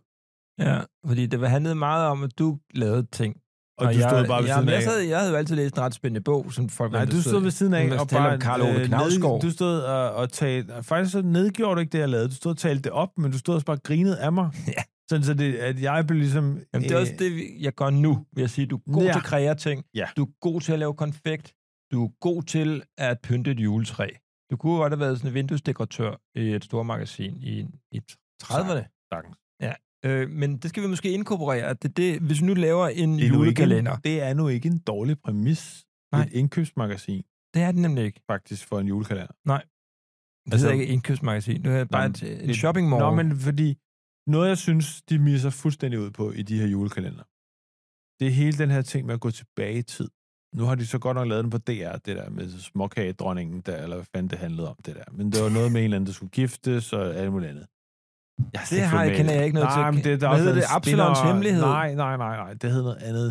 Ja. ja. fordi det handlede meget om, at du lavede ting.
Og, og du stod bare ved
jeg,
siden
jeg,
af.
sad, jeg havde jo altid læst en ret spændende bog, som folk var
Nej, du
interesseret
stod
i.
ved siden af
Men
og
tale om
bare...
Karl Ove Knausgård.
du stod og, og talte... Faktisk så nedgjorde du ikke det, jeg lavede. Du stod og talte det op, men du stod også bare og grinede af mig.
Ja.
Sådan så det, at jeg blev ligesom...
Jamen, det er også det, vi- jeg gør nu, vil jeg sige. Du er god
Ja.
til at kreere ting.
Ja.
Du er god til at lave konfekt. Du er god til at pynte et juletræ. Du kunne jo godt have været sådan en vinduesdekoratør i et stort magasin i, i 30'erne.
Sagtens.
Øh, men det skal vi måske inkorporere. at Det, er det, hvis vi nu laver en
Det er, nu ikke en,
julekalender,
det er nu ikke en dårlig præmis. Nej.
Nej.
Et indkøbsmagasin,
det er det nemlig ikke.
faktisk, for en julekalender.
Det
Altså-
altså, hedder ikke et indkøbsmagasin. Det er bare
men
et, en
det-
shopping mall.
Nå, men fordi noget, jeg synes, de misser fuldstændig ud på i de her julekalender, det er hele den her ting med at gå tilbage i tid. Nu har de så godt nok lavet den på DR, det der med småkagedronningen, der, eller hvad fanden det handlede om, det der. Men det var noget med en eller anden, der skulle giftes og alt muligt andet. Jeg
Det har jeg, kender jeg ikke noget
nej,
til.
Men det, der
Hvad
også
hedder
en
det? Absalons
spinner-
hemmelighed?
Nej, nej, nej, nej. Det hedder noget andet.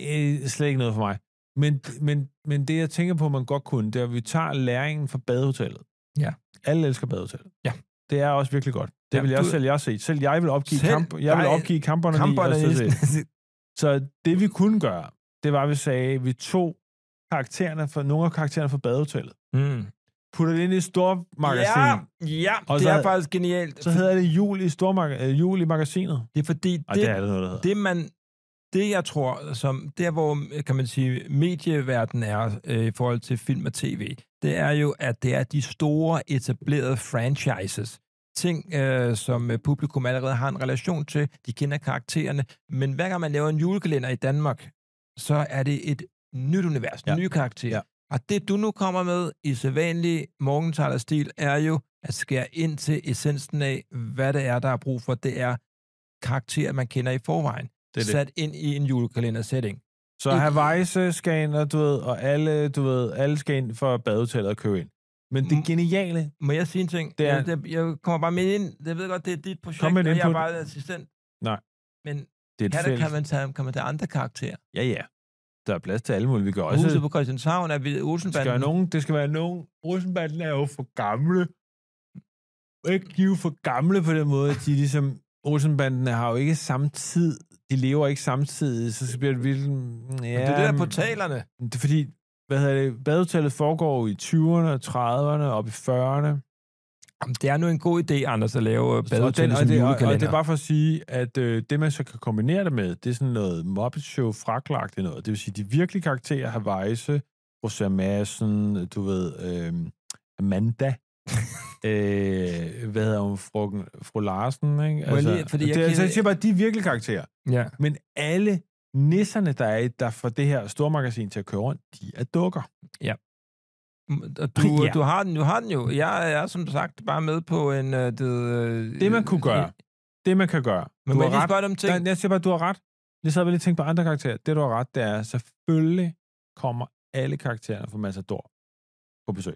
Øh, slet ikke noget for mig. Men, men, men det, jeg tænker på, man godt kunne, det er, at vi tager læringen fra badehotellet.
Ja.
Alle elsker badehotellet.
Ja.
Det er også virkelig godt. Det
Ja,
ja, vil jeg
du-
selv jeg se. Selv jeg vil opgive,
Selv
selv, kamp, jeg vil
dig-
opgive kamperne.
Kamperne
i, og så se.
i
Så det vi kunne gøre, det var, at vi sagde, at vi tog karaktererne fra, nogle af karaktererne fra badehotellet,
mm.
putter det ind i stormagasin,
Ja,
ja.
ja
Og
det
så-
er faktisk genialt.
så hedder det jul i, stormag- øh, jul i magasinet.
Det er fordi,
Ej, det,
det,
det er det noget, der hedder.
det man det jeg tror som der hvor kan man sige medieverdenen er øh, i forhold til film og tv det er jo at det er de store etablerede franchises ting øh, som øh, publikum allerede har en relation til de kender karaktererne men hver gang man laver en julekalender i Danmark så er det et nyt univers ja.
Ja.
nye karakterer ja.
Ja.
og det du nu kommer med i sædvanlig morgentalerstil er jo at skære ind til essensen af hvad det er der er brug for det er karakterer man kender i forvejen
det, er det.
sat ind i en julekalender-setting.
Så
Ikke-
Havajse skal ind, og du ved, og alle, du ved, alle skal ind for badehotellet og købe ind. Men
Mm.
det geniale,
Må jeg sige en ting?
Det er-
Jeg, det, jeg kommer bare med ind. Jeg ved godt, det er dit projekt,
Kom med et
og jeg er
input.
bare assistent.
Nej.
Men
det er
kan,
et
der,
fælles...
kan man tage, kan man tage andre karakterer?
Ja, ja. Der er plads til alle mulige. Vi gør
Også,
også...
Huset på Christianshavn er ved
Det skal, være
Olsenbanden.
nogen, det skal være nogen... Rosenbanden er jo for gamle. Ikke de er jo for gamle på den måde, at de ligesom... Rosenbanden har jo ikke samme tid. De lever ikke samtidig, så bliver det virkelig... Ja,
Ja, det er det der portalerne.
Det er fordi, hvad hedder det? Badehotellet foregår i 20'erne, 30'erne, op i 40'erne.
Jamen, det er nu en god idé, Anders, at lave øh,
og, den,
badehotellet
og,
som
det, og,
julekalender.
og det er bare for at sige, at øh, det, man så kan kombinere det med, det er sådan noget Muppet Show fraklagt noget. Det vil sige, de virkelige karakterer har Vejse, Rosa Madsen, du ved, øh, Amanda, øh, hvad hedder hun, fru, fru Larsen, ikke?
jeg lige- fordi
det,
jeg kan-
altså, jeg siger bare, de er virkelige karakterer.
Ja.
Men alle nisserne, der er i, der får det her store magasin til at køre rundt, de er dukker.
Mm, og Du,
Ja.
du, har den, du har den jo. Jeg er som sagt bare med på en... øh, Det, øh,
Det, man kunne gøre, det, man kan gøre.
Men
Du
må
har
jeg lige
ret.
spørge dig om ting?
Nej, jeg siger bare, du har ret. Jeg sad bare lige og tænkte på andre karakterer. Det, du har ret, det er, selvfølgelig kommer alle karaktererne fra Massador på besøg.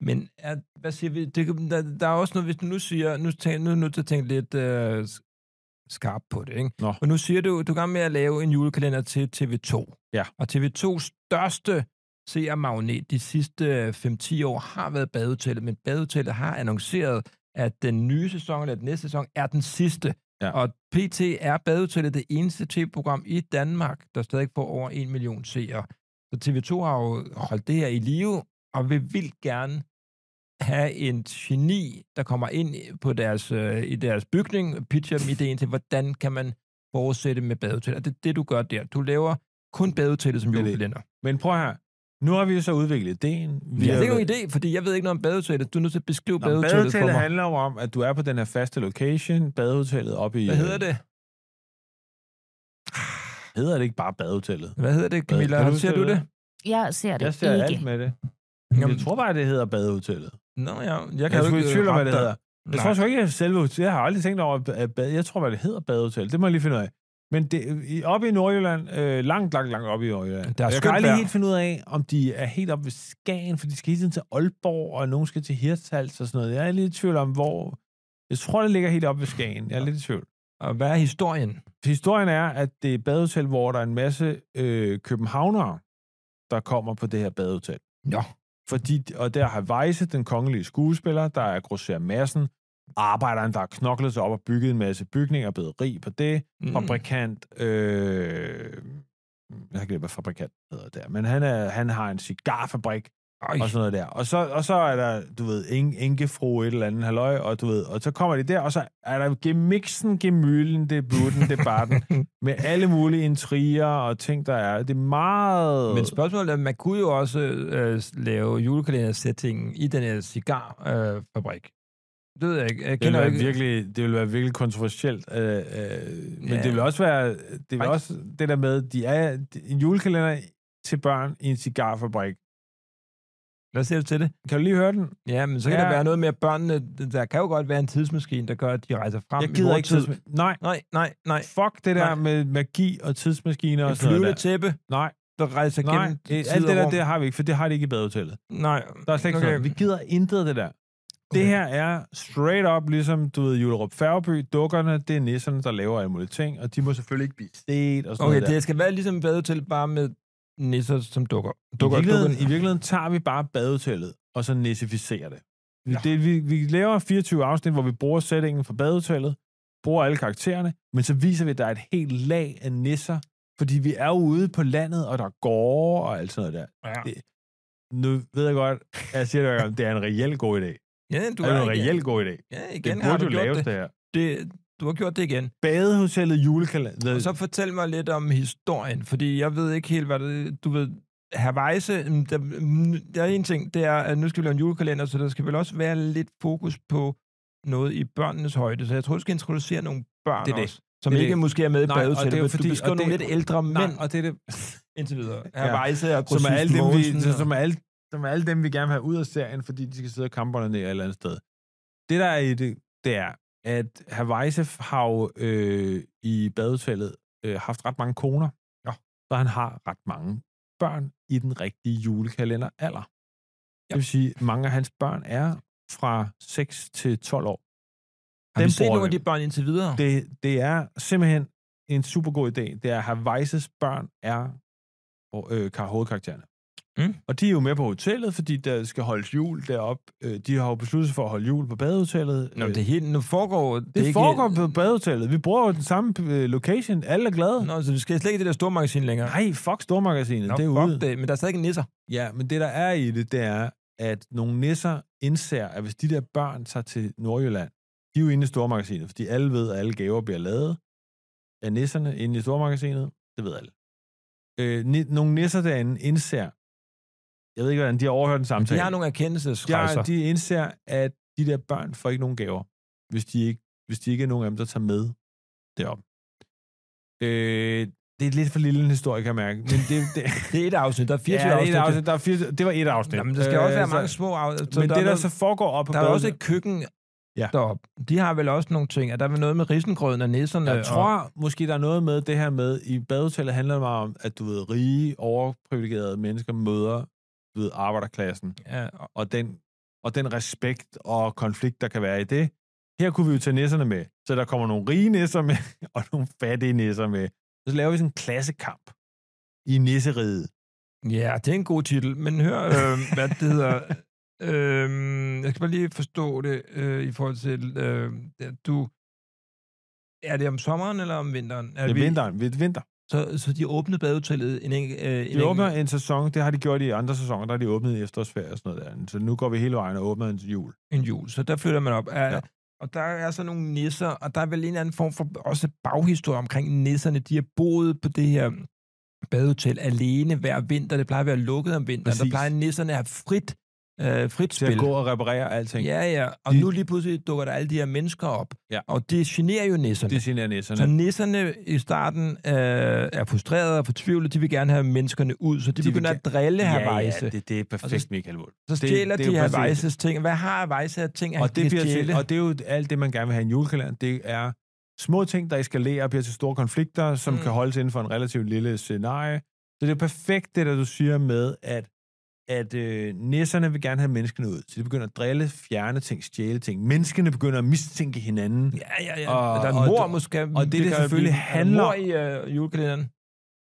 Men er, hvad siger vi? Det, kan- der, der er også noget, hvis du nu siger, nu, tæ, nu er jeg nødt til at tænke lidt øh, s- skarp på det, ikke?
Nå.
Og nu siger du, du er i gang med at lave en julekalender til TV2.
Ja.
Og TV2's største seermagnet de sidste øh, 5-10 år har været Badehotellet, men Badehotellet har annonceret, at den nye sæson, eller den næste sæson, er den sidste.
Ja.
Og PT er Badehotellet det eneste tv-program i Danmark, der stadig får over 1 million seere. Så TV2 har jo holdt det her i live, og vil vildt gerne have en geni, der kommer ind på deres, øh, i deres bygning, og pitcher dem ideen til, hvordan kan man fortsætte med badehotellet. Og det er det, du gør der. Du laver kun badehotellet som
Det er det.
julekalender.
Men prøv her. Nu har vi jo så udviklet ideen. Vi har-
Ja, det er ikke nogen idé, fordi jeg ved ikke noget om badehotellet. Du er nødt til at beskrive
Nå, men
badehotellet,
badehotellet
for mig.
handler jo om, at du er på den her faste location, badehotellet oppe i...
Hvad hedder det?
Hedder det ikke bare badehotellet?
Hvad hedder det, Camilla?
Kan du
Ser du
huske
det?
Jeg ser det
Jeg ser
ikke.
alt med det.
Jamen,
Jeg tror bare, det hedder badehotellet.
Nå ja, jeg
Jeg, jeg er
kan jo
sgu
ikke...
i tvivl om,
øh,
hvad det
rette dig.
hedder. Jeg
Nej.
tror sgu ikke, at selve... Jeg har aldrig tænkt over, at bad, jeg tror, hvad det hedder badehotel. Det må jeg lige finde ud af. Men det, i- oppe i Nordjylland, øh, langt, langt, langt oppe i Nordjylland,
Der er
jeg
skønt
kan aldrig
vejr.
helt finde ud af, om de er helt oppe ved Skagen, for de skal hele tiden til Aalborg, og nogen skal til Hirtshals og sådan noget. Jeg er lidt i tvivl om, hvor... Jeg tror, det ligger helt oppe ved Skagen. Jeg er lidt i tvivl.
Og hvad er historien?
Historien er, at det er et badehotel, hvor der er en masse øh, københavnere, der kommer på det her badehotel.
Nå.
Fordi, og der har Weisse, den kongelige skuespiller, der er grosser massen, arbejderen, der har knoklet sig op og bygget en masse bygninger, og blevet rig på det,
Mm.
fabrikant, øh, jeg har glemt, hvad fabrikant hedder der, men han, er, han har en cigarfabrik,
Ej,
og sådan noget der. Og så, og så er der, du ved, en, enkefru et eller andet halløj, og du ved, og så kommer de der, og så er der gemixen, gemylen, det er butten, det er barten, med alle mulige intriger og ting, der er. Det er meget...
Men spørgsmålet er, man kunne jo også øh, lave julekalendersettingen i den her cigarfabrik. Øh, fabrik. det ved jeg ikke.
det
Jeg
vil,
kender jo
være
ikke.
virkelig, det vil være virkelig kontroversielt, øh, øh, men
Ja.
det vil også være det, vil
Ej.
også det der med, de er de- en julekalender til børn i en cigarfabrik.
Hvad siger du til det?
Kan du lige høre den?
Ja, men så kan ja.
Ja.
der være noget med, at børnene... Der kan jo godt være en tidsmaskine, der gør, at de rejser frem i vortid.
tidsma- Nej,
Nej, nej, nej.
fuck det der nej.
Nej.
med magi og tidsmaskiner og
En
sådan noget
flyvende
der.
tæppe.
Nej,
der rejser
Nej,
gennem
øh,
tid
alt
og
det der,
rum.
det har vi ikke, for det har de ikke i badehotellet.
Nej,
Der er slet ikke okay. sådan. Vi gider intet af det der. Okay. Det
Okay.
her er straight up, ligesom, du ved, Julerup Færgeby, dukkerne, det er nisserne, der laver alle mulige ting, og de må selvfølgelig ikke blive set og sådan
okay,
noget der.
det skal være ligesom badehotel, bare med nisser, som dukker.
I
dukker,
virkeligheden,
dukker.
I virkeligheden tager vi bare badehotellet, og så nissificerer det. Ja. det vi, vi laver 24 afsnit, hvor vi bruger sætningen fra badehotellet, bruger alle karaktererne, men så viser vi, at der er et helt lag af nisser, fordi vi er jo ude på landet, og der er gårde og alt sådan noget der.
Ja.
Nu ved jeg godt, at jeg siger det, hver gang, det er en reel god idé.
ja, du
Du det er
er
en
igen.
reel god idé.
Ja, igen
Det
har
burde
du
jo
gjort
laves,
det.
det her.
det. Du har gjort det igen.
Badehotellet julekalender.
Og så fortæl mig lidt om historien, fordi jeg ved ikke helt, hvad det Du ved, Havajse, mm, der, mm, der er en ting, det er, at nu skal vi lave en julekalender, så der skal vel også være lidt fokus på noget i børnenes højde. Så jeg tror, du skal introducere nogle børn
Det
det
er det.
også, som
Det
det
er
ikke
det.
måske er med i
Nej, og
badehotellet.
det er jo
men
fordi- og
Du beskriver
det-
nogle lidt ældre mænd
og det er det,
indtil videre.
Ja.
Havajse og
som er, alle dem, vi,
Mogensen og-
som, er alle, som er alle dem, vi gerne vil have ud af serien, fordi de skal sidde og kamperne ned et eller andet sted. Det, der er i det, det er, at Havajse har jo, øh, i badehotellet øh, haft ret mange koner, ja. så han har ret mange børn i den rigtige julekalender alder. Det vil sige, at mange af hans børn er fra 6 til 12 år.
Har vi
Dem
set
bruger
nogle af
vi.
de børn indtil videre?
Det, det er simpelthen en super god idé. Det er, at Havajses børn er og, øh, kar- hovedkaraktererne.
Mm.
Og de er jo med på hotellet, fordi der skal holdes jul deroppe. Øh, de har jo besluttet sig for at holde jul på badehotellet.
Nå,
Øh,
men det hele, nu foregår... Det,
det
er ikke-
foregår på badehotellet. Vi bruger jo den samme øh, location. Alle er glade.
Nå, så vi skal slet ikke i det der store magasin længere.
Nej, fuck stormagasinet.
Nå,
det er
fuck
ude.
det, men der er stadig ikke nisser.
Ja, men det der er i det, det er, at nogle nisser indser, at hvis de der børn tager til Nordjylland, de er jo inde i stormagasinet, fordi alle ved, at alle gaver bliver lavet af nisserne inde i stormagasinet. Det ved alle. Øh, ni- nogle nisser derinde indser, jeg ved ikke, hvordan de har overhørt en samtale.
De har nogle erkendelsesrejser.
Ja, de indser, at de der børn får ikke nogen gaver, hvis de ikke, hvis de ikke er nogen af dem, der tager med derop. Øh, det er lidt for lille en historie, kan jeg mærke. Men det, det,
Det er et afsnit, der er 24
ja,
afsnit. øh,
Et afsnit. Der er 24, det var et afsnit. Øh,
Jamen, der skal også være
så-
mange små afsnit.
Men
der
det,
er
der
noget,
så foregår op på
der er også
badehotellet-
et køkken
Ja.
ja. deroppe. De har vel også nogle ting. Er der vel noget med risengrøden og nisserne?
Jeg tror måske, der er noget med det her med, i badehotellet handler det meget om, at du ved, rige, overprivilegerede mennesker møder du ved, arbejderklassen,
Og, ja, og,
og den, og den respekt og konflikt, der kan være i det. Her kunne vi jo tage nisserne med, så der kommer nogle rige nisser med, og nogle fattige nisser med. Så laver vi sådan en klassekamp i nisseriget.
ja, det er en god titel. Men hør, øh, hvad det hedder... Øh, jeg skal bare lige forstå det øh, i forhold til... Øh, at du... Er det om sommeren eller om vinteren?
Det er vinteren, det er vinter.
Så, så de åbnede badehotellet en enkelt... Øh, en
De
enkelt-
åbner en sæson, det har de gjort i andre sæsoner, der har de åbnet i efterårsferie og sådan noget der. Så nu går vi hele vejen og åbner en til jul.
en jul, så der flytter man op. Er,
Ja.
ja. Og der er så nogle nisser, og der er vel en eller anden form for også baghistorie omkring nisserne. De har boet på det her badehotel alene hver vinter. Det plejer at være lukket om vinteren.
Præcis.
Der plejer nisserne at have frit, øh, frit
Til at
spil.
gå og reparere alting.
Ja, ja. Og
De-
nu lige pludselig dukker der alle de her mennesker op.
Ja.
Og det generer jo nisserne.
Det generer
Så
nisserne.
nisserne i starten øh, er frustrerede og fortvivlede. De vil gerne have menneskerne ud, så de,
vil
de begynder
ge-
at drille her
ja, ja,
Vejse.
det, det er perfekt,
Og så-
Michael Wold.
Så stjæler
det
det,
er
det,
jo
de her
præcis det.
Vejses ting. Hvad har Vejse af ting, han
Og det,
kan
bliver
stjæle?
til, og det er jo alt det, man gerne vil have i en julekalender. Det er små ting, der eskalerer og bliver til store konflikter, som mm.
Mm.
kan holdes inden for en relativt lille scenarie. Så det er perfekt, det der du siger med, at, at øh, nisserne vil gerne have menneskene ud. Så de begynder at drille, fjerne ting, stjæle ting. Menneskene begynder at mistænke hinanden.
Ja, ja, ja.
Og-
Og, der
og
er mor
det-
måske.
og det, det selvfølgelig handler
om. i øh, julekalenderen.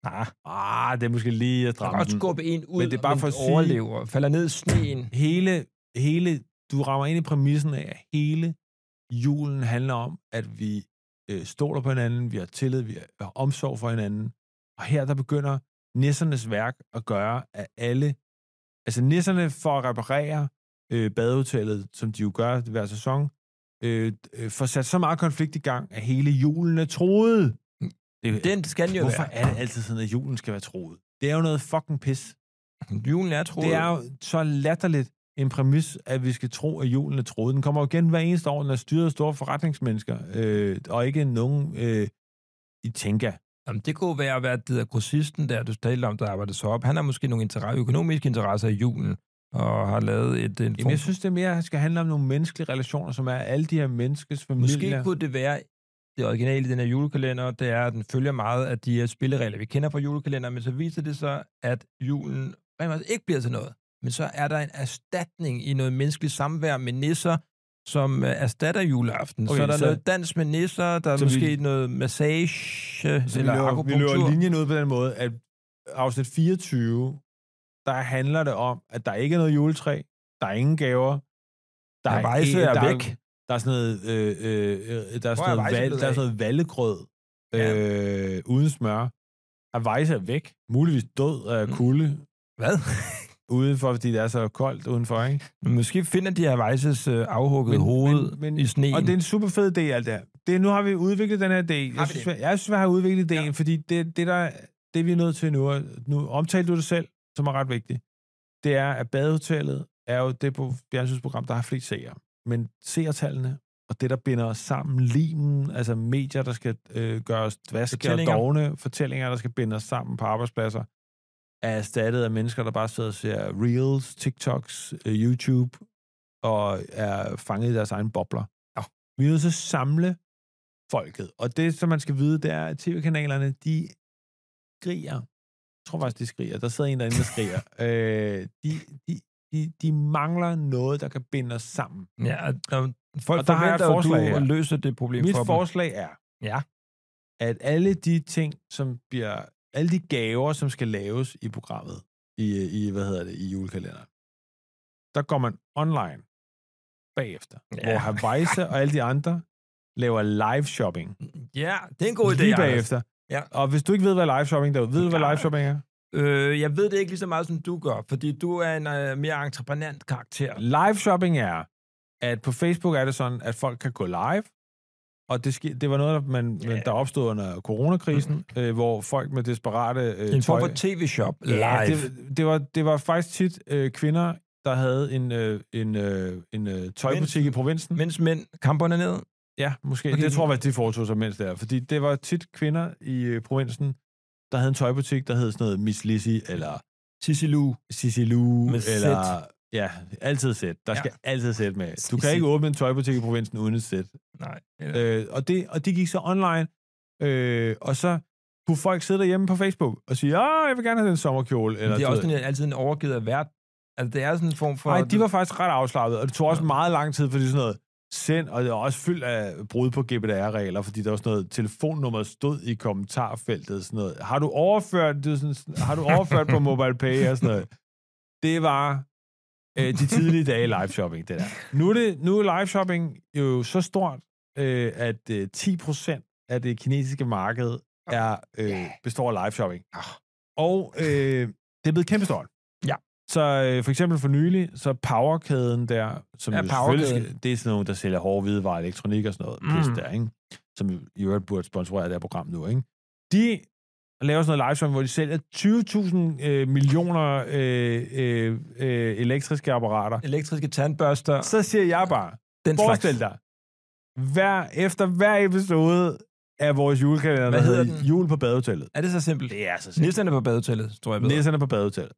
Nej,
Ah, det er måske lige at
der
dramme
kan godt
den.
skubbe en ud,
Men det er bare
om
for
den
at sige-
overlever, falder ned i sneen.
hele, hele, du rammer ind i præmissen af, at hele julen handler om, at vi øh, stoler på hinanden, vi har tillid, vi har omsorg for hinanden. Og her der begynder nissernes værk at gøre, at alle, altså nisserne for at reparere øh, badehotellet, som de jo gør hver sæson, øh, øh, får sat så meget konflikt i gang, at hele julen er troet. Mm. Det,
Den skal den jo
Øh, hvorfor
være.
er det altid sådan, at julen skal være troet? Det er jo noget fucking pis.
Julen er troet.
Det er jo så latterligt en præmis, at vi skal tro, at julen er troet. Den kommer jo igen hver eneste år, når styret af store forretningsmennesker, øh, og ikke nogen øh, i tænker.
Jamen, det kunne være at være det der grossisten der, du talte om, der arbejder så op. Han har måske nogle interesse, økonomiske interesser i julen, og har lavet et... En
Jamen,
form,
jeg synes, det mere skal handle om nogle menneskelige relationer, som er alle de her menneskes familier.
måske kunne det være det originale i den her julekalender, det er, at den følger meget af de her spilleregler, vi kender fra julekalenderen, men så viser det sig, at julen rent faktisk ikke bliver til noget. Men så er der en erstatning i noget menneskeligt samvær med nisser, som øh, erstatter juleaften. Okay,
Okay,
så er der
så-
så... noget dans med nisser, der er
Så vi-
måske vi... noget massage øh,
Så vi
eller
løber, vi løber
akupunktur.
linjen ud på den måde, at afsnit 24, der handler det om, at der ikke er noget juletræ, der er ingen gaver, der
Ja, rejse er
der
væk.
Der er sådan noget, øh, øh, øh, der er sådan
Hvor er
noget,
rejse
val,
blevet
der er
af?
sådan noget vallegrød øh, uden smør. Avejse er væk, muligvis død af
Mm.
kulde
Hvad?
udenfor, fordi det er så koldt udenfor, ikke?
Men Måske finder de her Vejses øh, afhuggede
Men-
hoved
men- men-
i sneen.
Og det er en super fed idé, alt det her. Det, nu har vi udviklet den her idé.
Har
Jeg
vi
synes,
det?
vi- jeg synes, vi har udviklet idéen, ja.
Ja.
fordi det, det, der, det, vi er nødt til nu, og nu omtalte du det selv, som er ret vigtigt, det er, at badehotellet er jo det på fjernsynsprogram, der har flest seere. Men seertallene, og det, der binder os sammen, limen, altså medier, der skal øh, gøre os dvaske og
Fortællinger.
dogne, fortællinger, der skal binde os sammen på arbejdspladser, er erstattet af mennesker, der bare sidder og ser Reels, TikToks, øh, YouTube, og er fanget i deres egen bobler.
Ja.
Vi er nødt til at samle folket. Og det, som man skal vide, det er, at tv-kanalerne, de skriger. Jeg tror faktisk, de skriger. Der sidder en derinde, der skriger. øh, de, de, de, de mangler noget, der kan binde os sammen.
Ja, og, og folk
Og
og
der
der
har jeg et
forventer, at du
forslag her.
løser det problem
Mit
for dem.
forslag er,
Ja.
at alle de ting, som bliver, alle de gaver, som skal laves i programmet, i, i hvad hedder det, i julekalenderen, der går man online bagefter, ja.
Ja.
hvor Havajse og alle de andre laver live shopping.
Ja, det er en god idé,
lige
Anders.
bagefter.
Ja.
Og hvis du ikke ved, hvad live shopping er, ved du, hvad
Ja.
live shopping er?
Øh, jeg ved det ikke lige så meget, som du gør, fordi du er en øh, mere entreprenant karakter.
Live shopping er, at på Facebook er det sådan, at folk kan gå live, og det, ske, det var noget, der, man,
Ja.
yeah. der opstod under coronakrisen, mm-hmm. øh, hvor folk med desperate øh,
En form
tøj-
for tv-shop live.
Ja, det, det, var, det var faktisk tit øh, kvinder, der havde en, øh, en, øh, en øh, tøjbutik i provinsen.
Mens mænd kamperne ned.
Ja, måske. Okay.
Okay.
Det tror jeg, faktisk, de foretog sig mens der. Fordi det var tit kvinder i øh, provinsen, der havde en tøjbutik, der hed sådan noget Miss Lizzy, eller
Tissilu.
Sissi Lou,
Med
eller...
sæt.
Ja, altid sæt. Der
Ja.
skal altid sæt med. Du kan
Sissi.
ikke åbne en tøjbutik i provinsen uden et sæt.
Nej. Eller,
Øh, og, det, og de gik så online, øh, og så kunne folk sidde derhjemme på Facebook og sige, åh, jeg vil gerne have den sommerkjole. Eller,
det er
du
også
ved.
sådan, altid en overgivet af vært. Altså, det er sådan en form for...
Nej, de var faktisk ret afslappet, og det tog også
Ja.
meget lang tid, fordi sådan noget send, og det var også fyldt af brud på GDPR-regler, fordi der var sådan noget, telefonnummer stod i kommentarfeltet, sådan noget. Har du overført, det var sådan, har du overført på MobilePay og sådan noget? Det var øh, de tidlige dage i live shopping, det der. Nu er, det, nu er live shopping jo så stort, øh, at øh, 10% af det kinesiske marked er, øh, består af live shopping. Og øh, det er blevet kæmpestort.
Ja.
Så øh, for eksempel for nylig, så Powerkæden der, som
Ja,
jo selvfølgelig
Powerkæden.
skal- det er sådan nogle, der sælger hårde hvidevarer, elektronik og sådan noget, mm.
Mm.
pis der, ikke? som jo i øvrigt burde sponsorere det her program nu, ikke? De laver sådan noget live shopping, hvor de sælger 20.000 øh, millioner øh, øh, øh, elektriske apparater.
Elektriske tandbørster.
Så siger jeg bare,
Den
Forestil dig, hver, efter hver episode af vores julekalender,
Hvad
der
hedder den?
Jul på badehotellet.
Er det så simpelt?
Det er så
Nisserne på badehotellet, tror jeg. jeg ved.
Nisserne på badehotellet.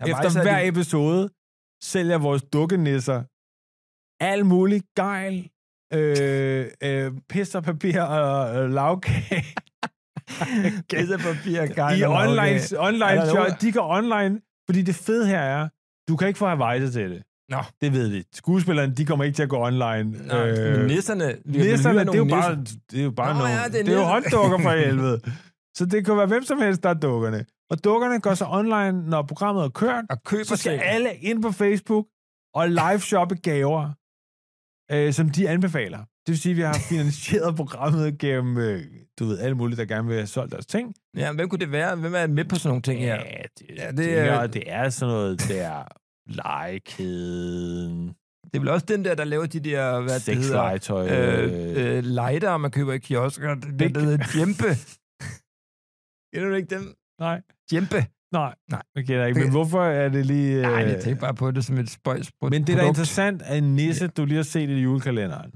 Jeg
efter
rejser
hver
de-
episode sælger vores dukkenisser alt muligt gejl, øh, øh, pisser, papir og øh, lavkage.
Gæssepapir,
I
gejl og
online,
havkage.
online
Er der
shop,
nogen-
de går online, fordi det fede her er, du kan ikke få Havajse til det.
Nå.
Det ved vi. Skuespillerne, de kommer ikke til at gå online.
Nå, men nisserne... Vi har
Øh, Nisserne,
hyret
det er jo
nogle
bare,
nisser.
det er jo bare
Nå,
nogle,
ja,
det
det
er,
er
det er jo
nisser.
hånddukker for helvede. Så det kunne være hvem som helst, der er dukkerne. Og dukkerne går så online, når programmet er kørt.
Og køber
Så skal
ting.
alle ind på Facebook og live shoppe gaver, øh, som de anbefaler. Det vil sige, at vi har finansieret programmet gennem, øh, du ved, alle mulige, der gerne vil have solgt deres ting.
Ja, hvem kunne det være? Hvem er med på sådan nogle ting her?
det,
Ja,
ja,
det
det, er,
er-
det er sådan noget der legekæden,
Det er vel også den der, der laver de der, hvad det hedder,
sexlegetøj. Øh, øh,
øh, øh, lighter, man køber i kiosker. Det, det,
Big.
det hedder Djempe. Kender du ikke dem?
nej,
Djempe.
nej,
Nej.
jeg kender ikke. Men
Det-
hvorfor er det lige...
Nej, jeg tænkte bare på det som et spøjs pro-
Øh. Men det, der er
produkt.
interessant, er en nisse, du lige har set i julekalenderen,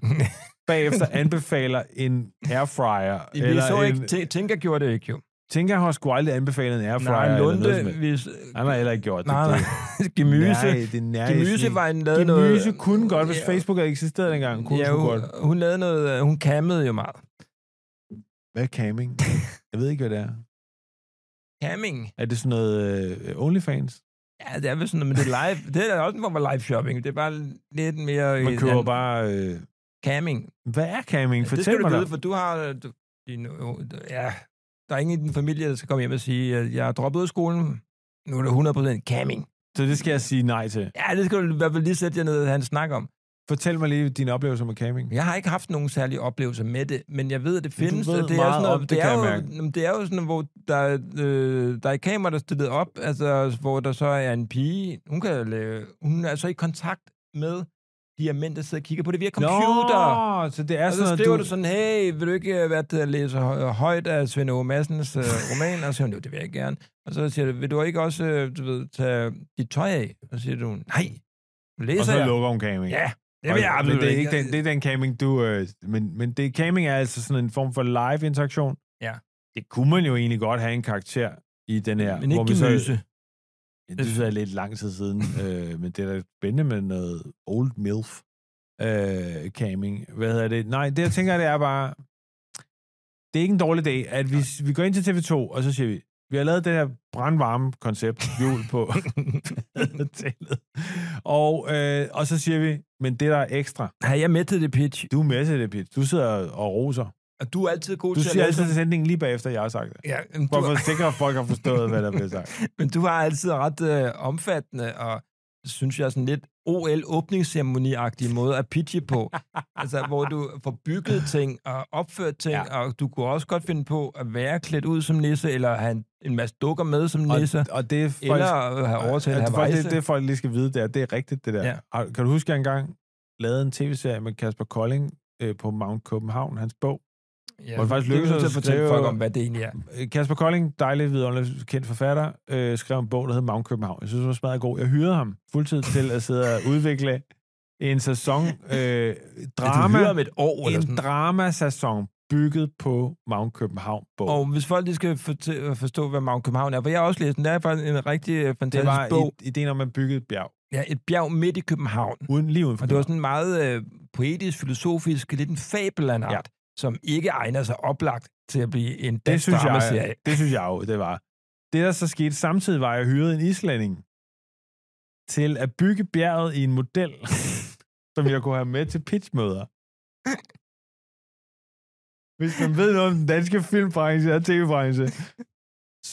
bagefter anbefaler en airfryer.
Vi så ikke, Tinka gjorde det ikke jo.
tænker, jeg har sgu aldrig anbefalet en airfryer.
Nej,
eller noget som
Lunde,
helst.
hvis...
Han har heller ikke gjort det.
Nej, nej.
Det-
Gemyse.
Nej, det er
Gemyse var en lavet noget...
Gemyse kunne godt, hvis
Ja.
Facebook havde eksisteret dengang. Kunne
Ja,
ja,
hun,
godt.
hun lavede noget... øh, Hun kammede jo meget.
Hvad er camming? Jeg ved ikke, hvad det er.
Camming?
Er det sådan noget uh, OnlyFans?
Ja, det er vel sådan noget, men det er live... det er da også en form for live shopping. Det er bare lidt mere...
Man
øh,
køber
en-
bare... Øh,
Camming.
hvad er camming?
det
Fortæl
skal du
mig
vide,
da.
for du har... øh, Du, din, ja, der er ingen i din familie, der skal komme hjem og sige, at jeg er droppet ud af skolen. Nu er det 100% camming.
Så det skal jeg sige nej til.
Ja, det skal du i hvert fald lige sætte jer ned og have en snak om.
Fortæl mig lige din oplevelse med camming.
Jeg har ikke haft nogen særlige oplevelser med det, men jeg ved, at det
Men du
findes.
ved
og det er
meget
sådan noget,
om det,
det,
kan
er
jeg
jo,
mærke.
jamen, det er jo sådan, hvor der, er, øh, der er et kamera, der er stillet op, altså, hvor der så er en pige. Hun, kan, lave, hun er så i kontakt med de her mænd, der sidder og kigger på det via computer.
Nå, så det er
Og
sådan
så
noget,
skriver du sådan, hey, vil du ikke øh, være til at læse hø- højt af Svend Åge Madsens øh, roman? Og så siger hun, jo, det vil jeg ikke gerne. Og så siger du, vil du ikke også øh, du ved, tage dit tøj af? Og så siger du, nej, nu
Og
læser
så
jeg.
lukker hun camming.
Ja, det vil jeg
men
absolut
det er ikke den, det er den camming, du... Øh, men men det, camming er altså sådan en form for live interaktion.
Ja.
Det kunne man jo egentlig godt have en karakter i den her.
Men ikke
vi så-
gemyse.
Ja, Det synes jeg er lidt lang tid siden, øh, men det er da spændende med noget old milf øh, camming. Hvad hedder det? Nej, det jeg tænker, det er bare... Det er ikke en dårlig idé, at vi, vi går ind til TV2, og så siger vi, vi har lavet det her brandvarme koncept, jul på hotellet. Og, øh, og så siger vi, men det der er ekstra,
Har jeg med til det pitch?
du er med til det, Pete. Du sidder og roser.
Og du er altid god
Du
til at
siger
lave
altid til
sådan-
sætningen lige bagefter, jeg har sagt det.
Ja, men
For
du,
at sikre, at folk har forstået, hvad der bliver sagt.
men du har altid ret øh, omfattende og synes jeg sådan lidt OL-åbningsceremoniagtig måde at pitche på. altså, hvor du får bygget ting og opført ting,
Ja.
ja. og du kunne også godt finde på at være klædt ud som nisse, eller have en, en masse dukker med som
Og,
nisse,
og det er folk,
eller at have overtalt
Ja,
at
det,
have
folk, det,
rejse.
det folk lige skal vide, det er, det er rigtigt, det der.
Ja.
Ja. Kan du huske, at jeg engang lavede en tv-serie med Kasper Kolding øh, på Mount Copenhagen, hans bog?
ja,
hvor det faktisk
du er
lykkedes
nødt til
os at
at fortælle
skrive-
folk om, hvad det egentlig er.
Øh, Kasper Kolding, dejlig vidunderlig kendt forfatter, øh, skrev en bog, der hed Mount Copenhagen. Jeg synes, det var smadret god. Jeg hyrede ham fuldtid til at sidde og udvikle en sæson øh, drama,
Ja, du om et år, eller
en
sådan.
dramasæson bygget på Mount Copenhagen-bog.
Og hvis folk lige skal fortæ- forstå, hvad Mount København er, for jeg har også læst den, det er faktisk en rigtig øh,
det
fantastisk
var
bog.
i, ideen om at bygge et bjerg,
Ja, et bjerg midt i København.
uden, lige uden for
Og det var sådan en meget øh, poetisk, filosofisk, lidt en fabel af en art,
Ja.
ja. som ikke egner sig oplagt til at blive en
det
dansk
synes, jeg,
dramaserie.
det synes jeg jo, det var. Det, der så skete samtidig, var, at jeg hyrede en islænding til at bygge bjerget i en model, som jeg kunne have med til pitchmøder. Hvis man ved noget om den danske filmbranche og tv-branche,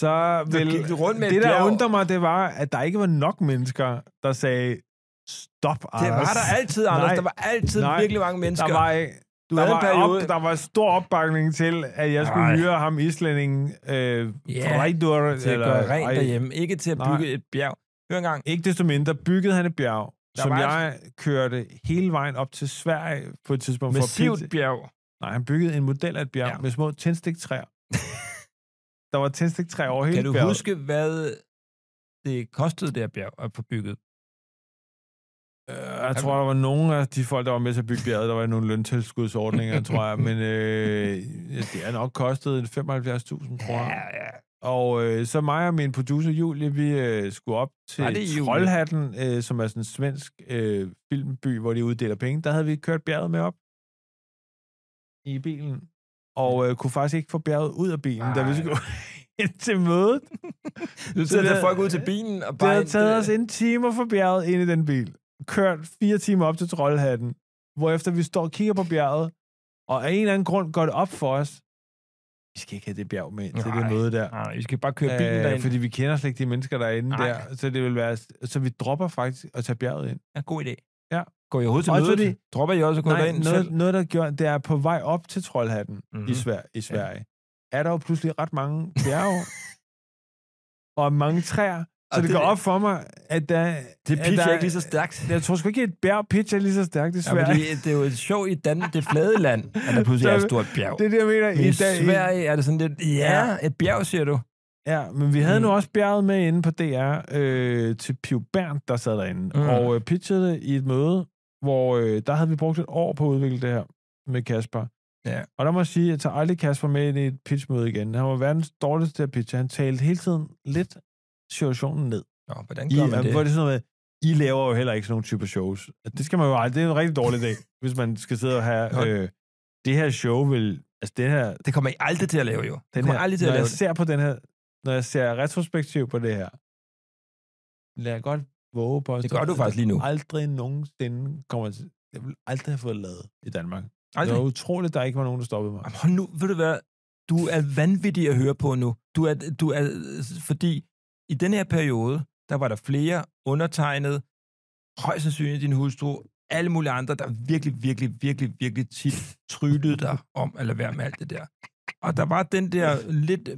så vil...
gik du rundt med et
det, der
bjerg.
undrer mig, det var, at der ikke var nok mennesker, der sagde, stop, Anders.
Det var der altid, Anders.
Nej.
der var altid
Nej.
virkelig mange mennesker.
Der var, ikke-
du
der
havde en
var,
periode.
op, der var stor opbakning til, at jeg skulle
Ej.
hyre ham islændingen øh,
Ja,
Reidur,
til at gøre rent
ej.
derhjemme. Ikke til at
Nej.
bygge et bjerg. Hør engang.
Ikke desto mindre byggede han et bjerg,
Der
som
var-
jeg kørte hele vejen op til Sverige på et tidspunkt. for at
Massivt
pitche-
bjerg.
Nej, han byggede en model af et bjerg
Ja.
ja. med små tændstiktræer. der var tændstiktræer over hele
Kan du
bjerget.
huske, hvad det kostede det her bjerg at få bygget?
Øh, Jeg tror, der var nogle af de folk, der var med til at bygge bjerget, der var nogle løntilskudsordninger, tror jeg. Men øh, det har nok kostet 75.000 kroner.
ja.
Og øh, så mig og min producer Julie, vi øh, skulle op
Var
til
det Julie?
Trollhatten, øh, som er sådan en svensk øh, filmby, hvor de uddeler penge. Der havde vi kørt bjerget med op i bilen, og øh, kunne faktisk ikke få bjerget ud af bilen, Ej. da vi
Ej.
skulle ind til mødet.
Du
det-
sætter folk ud til bilen og
Det
bare... øh.
havde taget os en time at få bjerget ind i den bil. Kørt fire timer op til Trollhatten, hvorefter vi står og kigger på bjerget, og af en eller anden grund går det op for os, vi skal ikke have det bjerg med ind til det
Nej.
møde der.
Nej, vi skal bare køre bilen derind.
Øh, fordi vi kender slet ikke de mennesker, der er inde
Nej.
der. Så det vil være... Så vi dropper faktisk at tage bjerget ind.
Ja, god idé.
Ja.
Går I overhovedet til
Også
mødet?
fordi-
Dropper I også at gå
Nej,
derind selv?
noget, noget, der gjorde, det er på vej op til Trollhatten mm-hmm.
Mhm.
i, Sver- i Sverige. Er der jo pludselig ret mange bjerge og mange træer. Så
Og
det,
det-
går op for mig, at der...
Det
at
pitcher
der-
ikke lige så stærkt.
Jeg tror sgu ikke, at et bjerg pitcher lige så stærkt i
Ja,
Sverige.
fordi det er jo sjovt i Danmark, det flade land, at der pludselig er et stort bjerg.
det er det, jeg mener.
Men i
dag-
Sverige er det sådan lidt, ja, et bjerg, siger du.
Ja, men vi havde mm. nu
Mm.
også bjerget med inde på DR øh, til Piv Bernd, der sad derinde, mm.
Mm.
og øh, pitchede det i et møde, hvor øh, der havde vi brugt et år på at udvikle det her med Kasper.
Ja.
Og der må jeg sige, at jeg tager aldrig Kasper med ind i et pitchmøde igen. Han var verdens dårligste til at pitche. Han talte hele tiden lidt situationen ned.
Nå, hvordan
I,
gør man
det? Hvor er
det?
det sådan noget med, I laver jo heller ikke sådan nogle typer shows. Det skal man jo aldrig. Det er en rigtig dårlig dag, hvis man skal sidde og have...
Hold.
Øh, det her show vil... Altså det her... Den
Det kommer I aldrig til at lave, jo. Det kommer
her
aldrig til
når
at lave
jeg ser på den her... Når jeg ser retrospektiv på det her... Lad jeg godt våge på... at
det. Det
stå-
gør du faktisk lige nu.
Aldrig nogensinde kommer til... Jeg ville aldrig have fået lavet i Danmark.
Aldrig.
Det var utroligt, der ikke var nogen, der stoppede mig.
Jamen, hold nu, ved du hvad? Du er vanvittig at høre på nu. Du er, du er, fordi i den her periode, der var der flere undertegnet, højst sandsynligt din hustru, alle mulige andre, der virkelig, virkelig, virkelig, virkelig tit tryllede dig om at lade være med alt det der. Og der var den der lidt,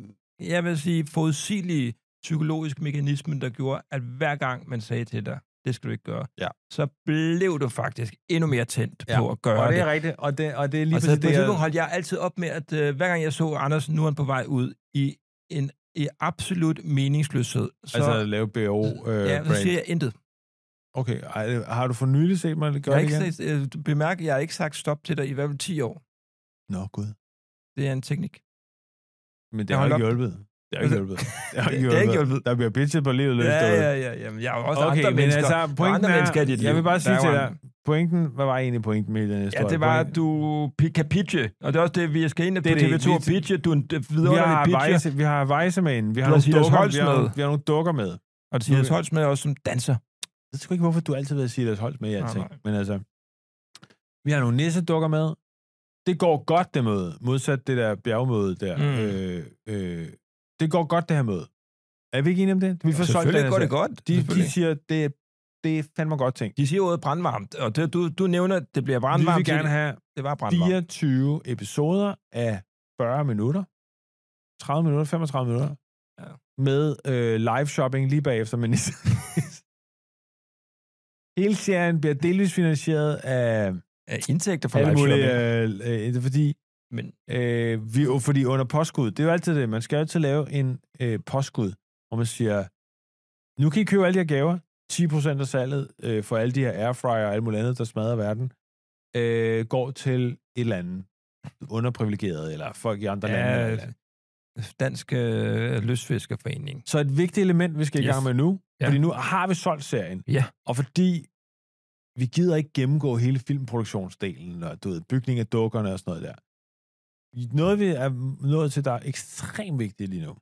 jeg vil sige, forudsigelige psykologiske mekanisme, der gjorde, at hver gang man sagde til dig, det skal du ikke gøre,
Ja.
så blev du faktisk endnu mere tændt
Ja,
på at gøre
Og
det.
det er rigtigt, og det, og det er lige
Lige og så
præcis
på et
det,
tidspunkt
jeg...
holdt jeg altid op med, at øh, hver gang jeg så Anders, nu er han på vej ud i en i absolut meningsløshed. Så,
Altså at lave BO øh,
ja, så siger jeg intet.
Okay, ej, har du for nylig set mig
Jeg
gøre
har
det
ikke
igen?
sagt, øh, du bemærker, jeg har ikke sagt stop til dig i hvert fald 10 år.
Nå, gud.
Det er en teknik.
Men det
Jeg
har
holdt Altså,
ikke hjulpet. Det har ikke hjulpet. Det har
Det- det har ikke hjulpet.
Der bliver bitchet på livet løs.
Ja,
derude.
ja, ja. Jamen, jeg har jo også
Okay,
andre
men
mennesker.
altså,
Der er
pointen
andre
er-
mennesker i dit
jeg
liv.
vil bare
Der
sige
er
til
jo
dig, pointen, hvad var egentlig pointen med den
Ja,
historie?
det var, at
Pointen-
du pi- kan pitche. Og det er også det, vi skal ind på
Det er det.
TV2 og
Vi-
pitche. Du er en
vi
vidunderlig
har,
pitcher.
vejse, vi har vejse med en. Vi har,
Du har
nogle
Silas
dukker,
Holst
vi, har,
med.
vi har nogle dukker med.
Og Silas Holst med også som danser.
Jeg tror ikke, hvorfor du altid vil have Silas Holst med i alting.
nej.
Men altså, vi har nogle nissedukker med. Det går godt, det møde. Modsat det der bjergmøde der.
Mm.
Øh, øh, det går godt, det her møde. Er vi ikke enige om det? Vi får solgt den
Selvfølgelig
her
går det
sag.
godt.
De,
Selvfølgelig.
de siger, det, er- det er fandme godt ting.
De siger ordet brandvarmt, og det, du, du nævner, det bliver
Vi
brandvarmt.
vil gerne have
Det var brandvarmt.
24 episoder af 40 minutter. 30 minutter, 35 minutter.
Ja.
Med øh, live shopping lige bagefter med Nisse. Hele serien bliver delvis finansieret af
Af indtægter fra
alle
live
mulige,
shopping.
øh, øh, det er fordi,
Men
øh, vi, jo, fordi under påskud, det er jo altid det, man skal jo altid lave en øh, påskud, hvor man siger, nu kan I købe alle de her gaver, 10% af salget øh, for alle de her airfryer og alt muligt andet, der smadrer verden, øh, går til et eller andet underprivilegeret, eller folk i andre lande. eller et eller
ja,
andet.
Dansk øh, Løsfiskerforening.
Så et vigtigt element, vi skal i
Yes.
gang med nu,
Ja.
ja. fordi nu har vi solgt serien,
Ja.
og fordi vi gider ikke gennemgå hele filmproduktionsdelen, og du ved, bygning af dukkerne og sådan noget der. Noget, vi er nået til, der er ekstremt vigtigt lige nu,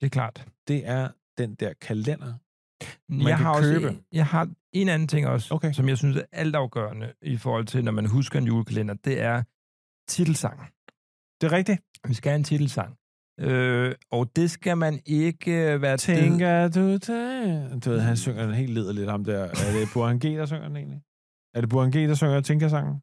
Det er klart.
det er den der kalender.
Man
kan
jeg har
købe.
Også, jeg har en anden ting også,
Okay.
som jeg synes er altafgørende i forhold til, når man husker en julekalender, det er titelsang.
Det er rigtigt.
Vi skal have en titelsang. Øh, og det skal man ikke øh, være det-
Tænker du det? Du ved, han synger den helt lederligt, ham der. Er det Burhan G, der synger den egentlig? Er det Burhan G, der synger Tænker-sangen?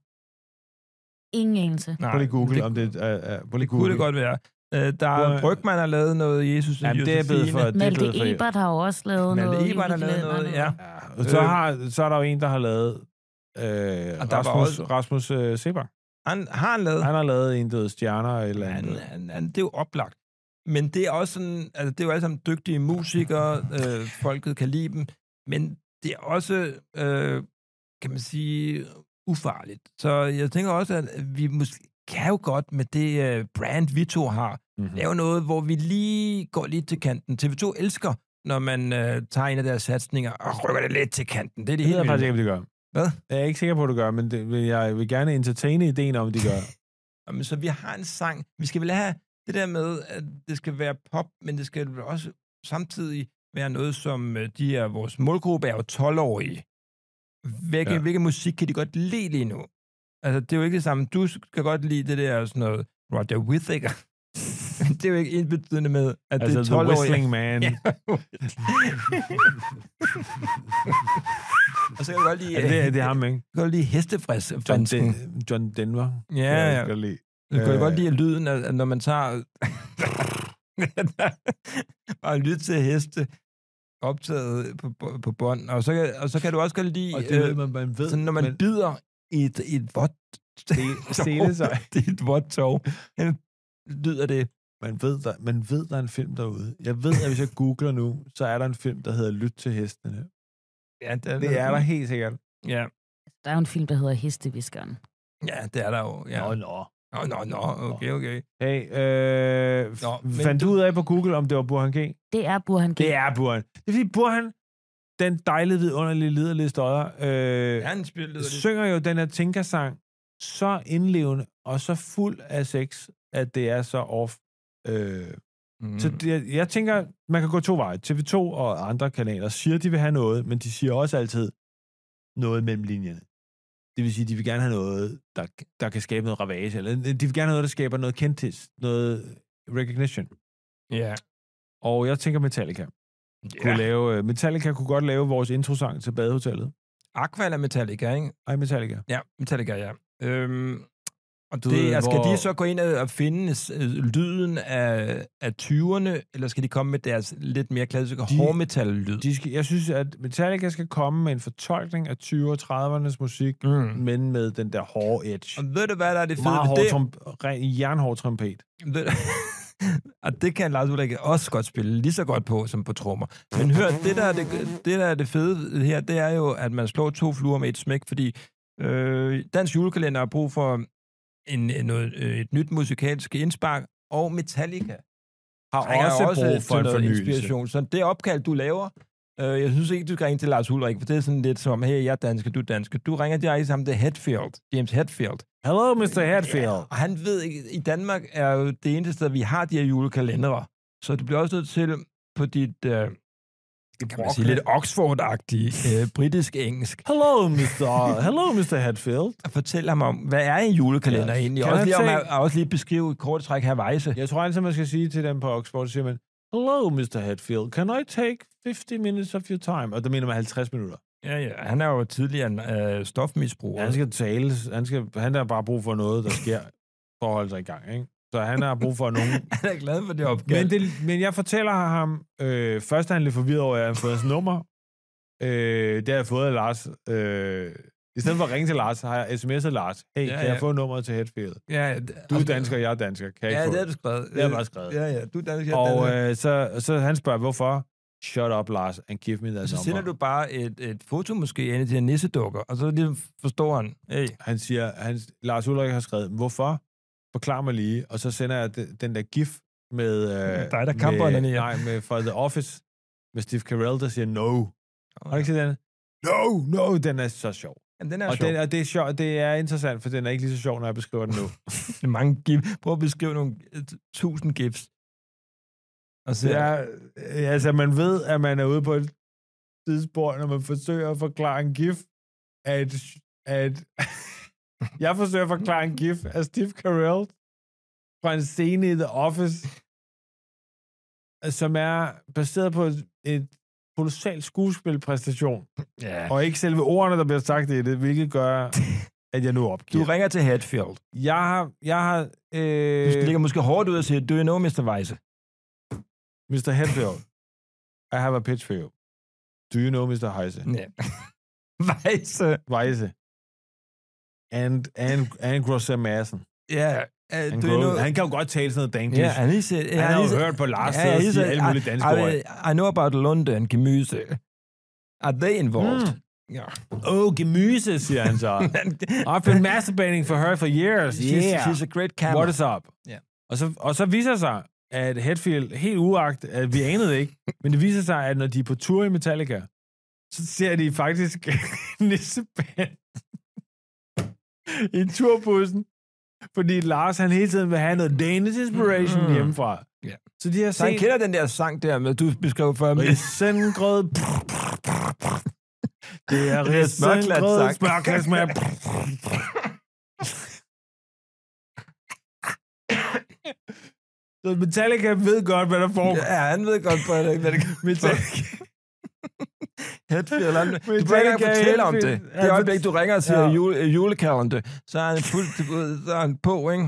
Ingen anelse.
Nej,
Prøv lige Google,
det,
om det er... Uh, uh,
det kunne det godt være. Øh, der
Hvor-
er Brygman har lavet noget Jesus og
Jamen, det er blevet for...
Josefine.
Det er
Malte
blevet for
Ebert har jo også lavet
Malte
noget.
Ebert har lavet noget, ja.
Ja, og så,
Øh.
har, så er der jo en, der har lavet øh,
Og
Rasmus,
der var
også... Rasmus øh, Sebak.
Han, har han lavet?
Han har lavet en, der hedder Stjerner eller
Han,
andet.
han, han, det er jo oplagt. Men det er også sådan, altså det er jo alle sammen dygtige musikere, øh, folket kan lide dem, men det er også, øh, kan man sige, ufarligt. Så jeg tænker også, at vi måske kan jo godt med det øh, brand, vi to har,
Mm-hmm.
lave noget, hvor vi lige går lidt til kanten. TV2 elsker, når man øh, tager en af deres satsninger og rykker det lidt til kanten. Det er
Det
det,
ved jeg
hele
faktisk ikke, om de gør.
Hvad?
Jeg er ikke sikker på, at du gør, men det, vil- jeg vil gerne entertaine ideen om, at de gør.
Jamen, så vi har en sang. Vi skal vel have det der med, at det skal være pop, men det skal vel også samtidig være noget, som øh, de er, vores målgruppe er jo 12-årige. Hvilke, ja.
Ja.
hvilke musik kan de godt lide lige nu? Altså, det er jo ikke det samme. Du kan godt lide det der sådan noget Roger Whittaker. det er jo ikke indbetydende med, at
altså,
det er
The
12-årige.
Whistling Man.
Ja. Og så kan du godt lide,
Ja, det, er- det er ham, ikke?
kan du godt lide hestefræs.
John,
John
Den, John Denver.
ja,
kan jeg
ja.
godt lide.
Du kan øh,
Øh.
godt lide at lyden, at, at når man tager... bare lytte til heste optaget på, på, på bånd. Og så, kan, og så kan du også godt lide,
Og det ved
øh,
man, man ved.
sådan, når man
men
bider i et, i et vådt
se- sele sig.
det er et vådt tog. Øh, Lyder det.
Man ved, der, man ved, der er en film derude. Jeg ved, at hvis jeg googler nu, så er der en film, der hedder Lyt til hestene.
Ja,
Det er der helt sikkert.
Ja,
Der er jo en film, der hedder Hesteviskeren.
ja det er der jo. Ja.
nå.
Nå, nå, nå, okay, okay.
Hey, øh,
Nå,
Nå,
men
fandt du
du-
ud af på Google, om det var Burhan G?
Det er Burhan G.
Det er Burhan. Det er fordi Burhan, den dejlige, vidunderlige, liderlige stodder, øh,
Ja, en spil, det.
synger jo den her Tinka-sang så indlevende og så fuld af sex, at det er så off. Øh,
Mm.
Så det, jeg tænker, man kan gå to veje. TV2 og andre kanaler siger, de vil have noget, men de siger også altid noget mellem linjerne. Det vil sige, de vil gerne have noget, der, der kan skabe noget ravage, eller øh, de vil gerne have noget, der skaber noget kendtis, noget recognition.
Ja.
Og jeg tænker, Metallica kunne
ja.
lave... øh, Metallica kunne godt lave vores introsang til Badehotellet.
Aqua eller Metallica, ikke?
Ej, Metallica.
Ja, Metallica, ja. Øhm, og
Du
du det,
ved,
ved, skal
hvor-
de så gå ind og og finde øh, lyden af, af 20'erne, eller skal de komme med deres lidt mere klassiske
De-
hårdmetal-lyd?
De skal, jeg synes, at Metallica skal komme med en fortolkning af 20'erne og 30'ernes musik,
mm.
men med den der hårde edge.
Og ved du, hvad der er det fede
Meget hård
ved det?
trom- ren jernhård trompet.
Ved, og det kan Lars Ulrik også godt spille lige så godt på som på trommer. Men hør, det der, er det, det der er det fede her, det er jo, at man slår to fluer med et smæk, fordi øh, Dansk Julekalender har brug for en, en, noget, øh, et nyt musikalsk indspark, og Metallica
har
trænger
også, også brug for
til
en
noget
fornyelse.
inspiration. Så det opkald, du laver, øh, jeg synes ikke, du skal ringe til Lars Ulrik, for det er sådan lidt som, hey, jeg er dansker, du er dansker. Du ringer direkte sammen til Hetfield, James Hetfield.
Hello, Mr. Hatfield.
Og han ved ikke, i Danmark er jo det eneste sted, vi har de her julekalendere. Så du bliver også nødt til på dit, øh, det kan man sige, lidt Oxford-agtige øh, britisk-engelsk,
Hello, Mr. Hello, Mr. Hatfield.
at fortælle ham om, hvad er en julekalender
Ja.
ja. egentlig?
Kan
Og også
han
lige, om,
tage-
at, også lige beskrive i kort træk her vejse.
Jeg tror altid, man skal sige til dem på Oxford, så siger man, Hello, Mr. Hatfield. Can I take 50 minutes of your time? Og der mener man 50 minutter.
Ja, ja. Han er jo tidligere en øh, stofmisbruger.
Ja, han skal tale. Han, skal, han har bare brug for noget, der sker for at holde sig i gang. Ikke? Så han har brug for nogen.
han er glad for det opgave.
Men, det, men jeg fortæller ham, øh, først er han lidt forvirret over, at jeg har fået hans nummer. Øh, det har jeg fået af Lars. Øh, I stedet for at ringe til Lars, har jeg sms'et Lars. Hey, ja,
Ja,
kan ja. jeg
ja.
få nummeret til Hetfield?
ja, ja, det-
Du er dansker, jeg er dansker. Kan jeg
Altså, Ja,
ikke
det
få
har du skrevet.
Det har jeg bare skrevet.
Ja, ja. Du er dansker, jeg er dansker.
Og øh, så, så han spørger, hvorfor? Shut up, Lars, and give me that
Så
number.
Altså, sender du bare et, et foto måske ind til en nissedukker, og så ligesom forstår han, hey,
Han siger, han, Lars Ulrik har skrevet, hvorfor? Forklar mig lige. Og så sender jeg de, den der gif med... Øh,
Dig, der kamper
med,
den i.
Nej, med, fra The Office med Steve Carell, der siger no. Har du
ja.
ikke set den? No, no, den er så sjov.
jamen, den er
og,
sjov.
Den, og det, er sjov, det er interessant, for den er ikke lige så sjov, når jeg beskriver den nu.
Det er mange gif. Prøv at beskrive nogle øh, tusind gifs. Og så,
Det
ja.
er, øh, altså, man ved, at man er ude på et tidsspor, når man forsøger at forklare en gif, at, at jeg forsøger at forklare en gif af Steve Carell fra en scene i The Office, som er baseret på et, et kolossal skuespilpræstation,
ja.
og ikke selve ordene, der bliver sagt i det, hvilket gør, at jeg nu
Du
opgiver.
ringer til Hatfield.
Jeg har, jeg har, øh,
Du ligger måske hårdt ud og siger, do you know, Mr. Weisse?
Mr. Hetfield, I have a pitch for you. Do you know Mr. Heise?
Ja. Weisse.
Weise. And, and, and Grosser Madsen.
Ja. Uh,
Han,
do you know?
han kan jo godt tale sådan noget dansk.
Ja,
Ja,
han, is, han,
han har jo hørt på Lars sidde og sige alle mulige danske ord.
I, I know about London, gemyse. Are they involved?
Hmm.
Mm. Ja.
Oh, gemyse, siger han så. I've been masturbating for her for years.
she's, she's a great camera.
What is up?
Ja.
Og, så, og så viser det sig, at Hetfield, helt uagt, at vi anede det ikke, men det viser sig, at når de er på tur i Metallica, så ser de faktisk nissebanden i turbussen, fordi Lars, han hele tiden vil have noget Danish inspiration
Mm.
hjemmefra.
Ja.
Så de har
Så han
set
kender den der sang der, med, du beskrev før. med-
risengrød. Det er
Det er smørklat
risengrød,
sagt.
smørklat med. Så Metallica ved godt, hvad der foregår.
Ja, han ved godt, hvad det, hvad det
Metallica,
Hetfield, han, du
Metallica
behøver ikke engang fortælle om
Hetfield.
det.
Ja,
Det øjeblik, du ringer og siger
ja.
ja. jule, øh, julekalender, så er han fuldt ud- så er han på, ikke?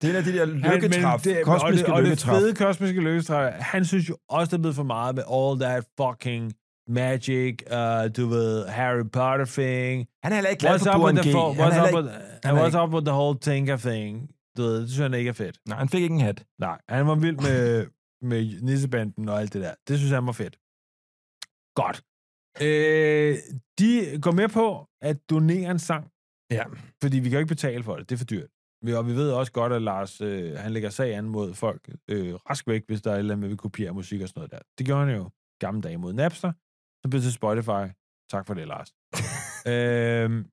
Det er en af de der lykketræf,
men det-
kosmiske
og det,
lykketræf.
Og det fede kosmiske lykketræf, han synes jo også, der er blevet for meget med all that fucking magic, uh, du ved, Harry Potter thing,
Han er heller ikke glad
What's
for
up
Buren
with
G.
the fo-
Han er
what's up
heller
with-
han
and
er
what's up with the whole Tinker thing? Du ved, det synes han ikke er fedt.
ikke- Nej, han fik ikke en hat.
Nej, han var vild med, med nissebanden og alt det der. Det synes han var fedt. Godt. Øh, de går med på at donere en sang
Ja.
Fordi vi kan jo ikke betale for det. Det er for dyrt. Vi- Og vi ved også godt, at Lars øh, han lægger sag an mod folk øh, rask væk, hvis der er et eller andet med, at vi kopierer musik og sådan noget der. Det gjorde han jo gamle dage mod Napster. Så blev det til Spotify. Tak for det, Lars. øhm,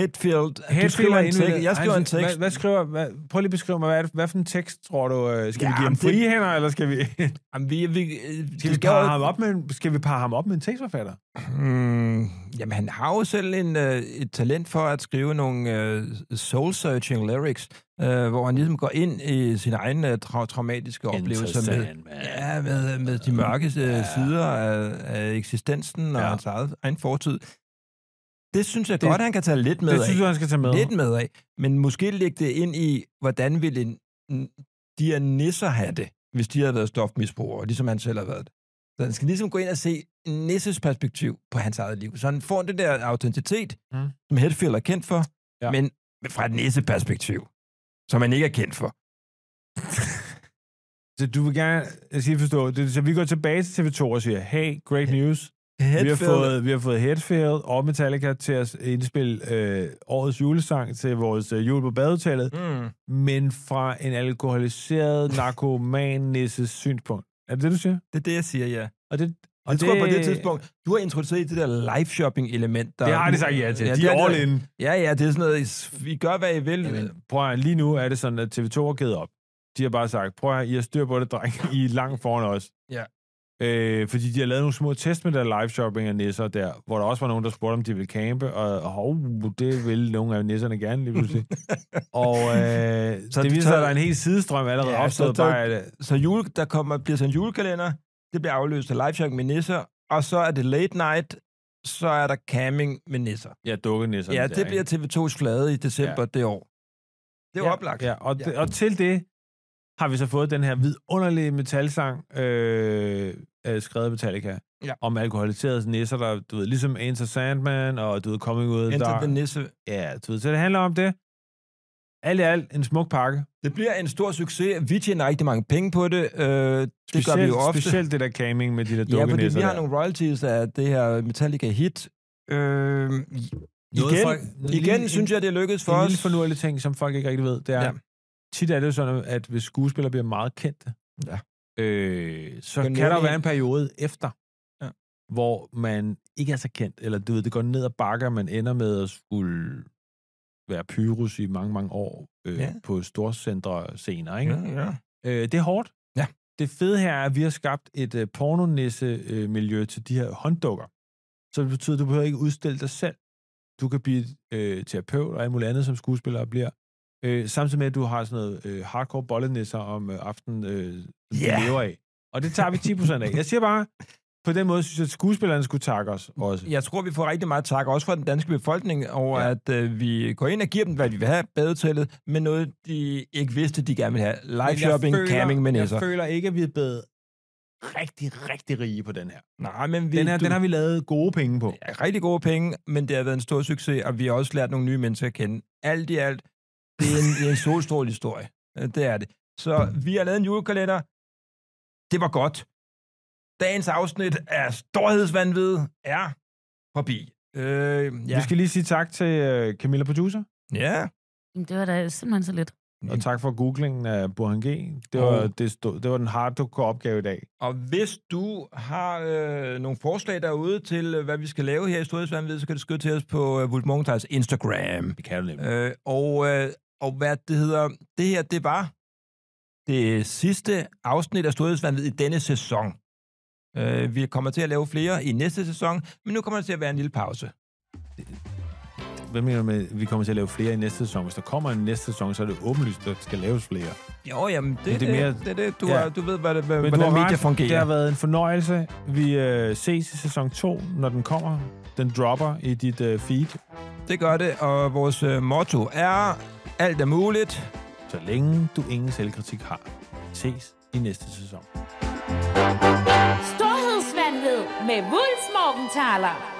Hetfield.
Hetfield
du skriver
er
en
indvilliget.
tekst. Jeg skriver
Han-
en tekst.
Hvad, hvad skriver, hvad, prøv lige at beskrive mig, hvad, er det- hvad for en tekst tror du? Øh, skal ja, vi give ham
Jamen, det-
frie hænder, eller skal vi, skal
Jamen, vi, vi, øh, det
vi
skal
parre
jo-
ham op med en, skal vi parre ham op med en tekstforfatter?
Mm, jamen, han har jo selv en, øh, et talent for at skrive nogle øh, soul-searching lyrics, øh, hvor han ligesom går ind i sin egen øh, tra- traumatiske oplevelse med, ja, med, med de mørke øh,
Ja.
sider af, af eksistensen og
Ja.
hans eget, egen fortid. Det synes jeg det, godt, han kan tage lidt med
det
af.
synes jeg, han skal tage med.
Lidt med af. Men måske lægge det ind i, hvordan ville en, de her nisser have det, hvis de havde været stofmisbrugere, ligesom han selv har været det. Så han skal ligesom gå ind og se nisses perspektiv på hans eget liv. Så han får det der autenticitet,
Mm.
mm. som Hetfield er kendt for,
Ja.
ja. men fra et nisseperspektiv, som han ikke er kendt for.
Så du vil gerne jeg skal lige forstå. Det, så vi går tilbage til TV2 og siger, hey, great news. Vi har, fået, vi har fået Headfield og Metallica til at indspille øh, årets julesang til vores øh, jul på badehotellet,
Mm.
men fra en alkoholiseret narkomanisses synspunkt. Er det det, du siger?
Det er det, jeg siger, ja.
Og det,
Og jeg det... tror på det tidspunkt, du har introduceret det der live shopping element. Der...
Det har de sagt ja til. Ja, de
det
er all
det.
in.
Ja, ja, det er sådan noget, I- I gør, hvad I vil.
Jamen, prøv at, høre, lige nu er det sådan, at TV2 har givet op. De har bare sagt, prøv at, høre, I har styr på det, dreng. I er langt foran os.
Ja.
Øh, fordi de har lavet nogle små test med der live shopping af nisser der, hvor der også var nogen, der spurgte, om de ville campe, og hov, det ville nogle af nisserne gerne lige pludselig. og øh, så
Så
det
du
viser sig, at
tager-
der er en hel sidstrøm allerede ja,
Ja,
opstået
så tager-
bare af det.
Så jule, der kommer, bliver sådan en julekalender, det bliver afløst af live shopping med nisser, og så er det late night, så er der camming med nisser.
Ja, dukkenisserne
ja,
der,
det
ikke?
bliver TV2's flade i december ja. det år. Det er
ja,
ja. oplagt.
Ja, og, ja. og til det har vi så fået den her vidunderlige metalsang, øh, øh, skrevet af Metallica,
Ja.
om alkoholiserede nisser, der, du ved, ligesom Enter Sandman, og du ved, Coming Ud,
Enter the
der,
nisse.
ja, du ved, så det handler om det. Alt i alt, en smuk pakke.
Det bliver en stor succes. Vi tjener rigtig mange penge på det. Øh, det gør vi jo ofte.
Specielt det der caming med de der
ja, fordi
dukkenisser
vi har
der.
nogle royalties af det her Metallica hit. Øh,
Noget
igen,
folk-
igen
lige-
synes jeg, det er lykkedes for
en
os.
lille fornuelig ting, som folk ikke rigtig ved, det er, ja.
Ja.
tit er det jo sådan, at hvis skuespillere bliver meget kendte,
Ja.
øh, så
Men
kan der
nu er
jo
det-
være en periode efter, ja.
Ja.
hvor man ikke er så kendt, eller du ved, det går ned og bakker, man ender med at skulle være pyrus i mange, mange år øh, ja.
Ja.
på storcentre senere. Ikke?
Ja, ja.
Øh, det er hårdt.
Ja.
Det fede her er, at vi har skabt et øh, pornonisse-miljø til de her hånddukker. Så det betyder, at du behøver ikke udstille dig selv. Du kan blive øh, terapeut og alt muligt andet, som skuespiller bliver. Øh, samtidig med, at du har sådan noget øh, hardcore bollenisser om øh, aftenen, øh, som yeah.
Ja.
du lever af. Og det tager vi 10% af. Jeg siger bare, på den måde synes jeg, at skuespillerne skulle takke os også.
Jeg tror, vi får rigtig meget tak, også fra den danske befolkning, over
Ja.
ja. at øh, vi går ind og giver dem, hvad de vil have, badetallet, men noget, de ikke vidste, de gerne ville have. Live
Men altså. jeg
shopping,
føler-
camming med
Jeg
nisser.
føler ikke, at vi er blevet rigtig, rigtig rige på den her.
Nej, men vi,
Den her,
du,
den har vi lavet gode penge på.
er rigtig gode penge, men det har været en stor succes, og vi har også lært nogle nye mennesker at kende. Alt i alt, det er en, det er en solstrål historie. Øh, Det er det. Så vi har lavet en julekalender. Det var godt. Dagens afsnit af Storhedsvandvid er forbi. Øh,
Ja.
ja.
Vi skal lige sige tak til øh, Camilla Producer,
ja.
Jamen, det var da simpelthen så lidt.
og tak for googlingen af Burhan G. Det var,
Åh.
det stod, det var den hardcore opgave i dag.
Og hvis du har øh, nogle forslag derude til, øh, hvad vi skal lave her i Storhedsvandvid, så kan du skrive til os på øh, Vultmorgentals Instagram.
Det kan du nemlig.
Øh, og, øh, og hvad det hedder, det her, det var det sidste afsnit af Storhedsvandvid i denne sæson. Øh, vi kommer til at lave flere i næste sæson, men nu kommer der til at være en lille pause.
Øh, Hvad mener du med, at vi kommer til at lave flere i næste sæson? Hvis der kommer en næste sæson, så er det åbenlyst, at der skal laves flere.
Jo, jamen, det,
Men
er
det
det,
er mere-
det, det, det, du,
ja.
ja. har, du ved, hvad, det, hvad,
Men
hvordan
du har
medier
ret.
fungerer.
Det har været en fornøjelse. Vi øh, ses i sæson 2, når den kommer. Den dropper i dit øh, feed,
Det gør det, og vores øh, motto er, alt er muligt.
så længe du ingen selvkritik har. Ses i næste sæson.
Storhedsvandved med Wulfs Morgenthaler.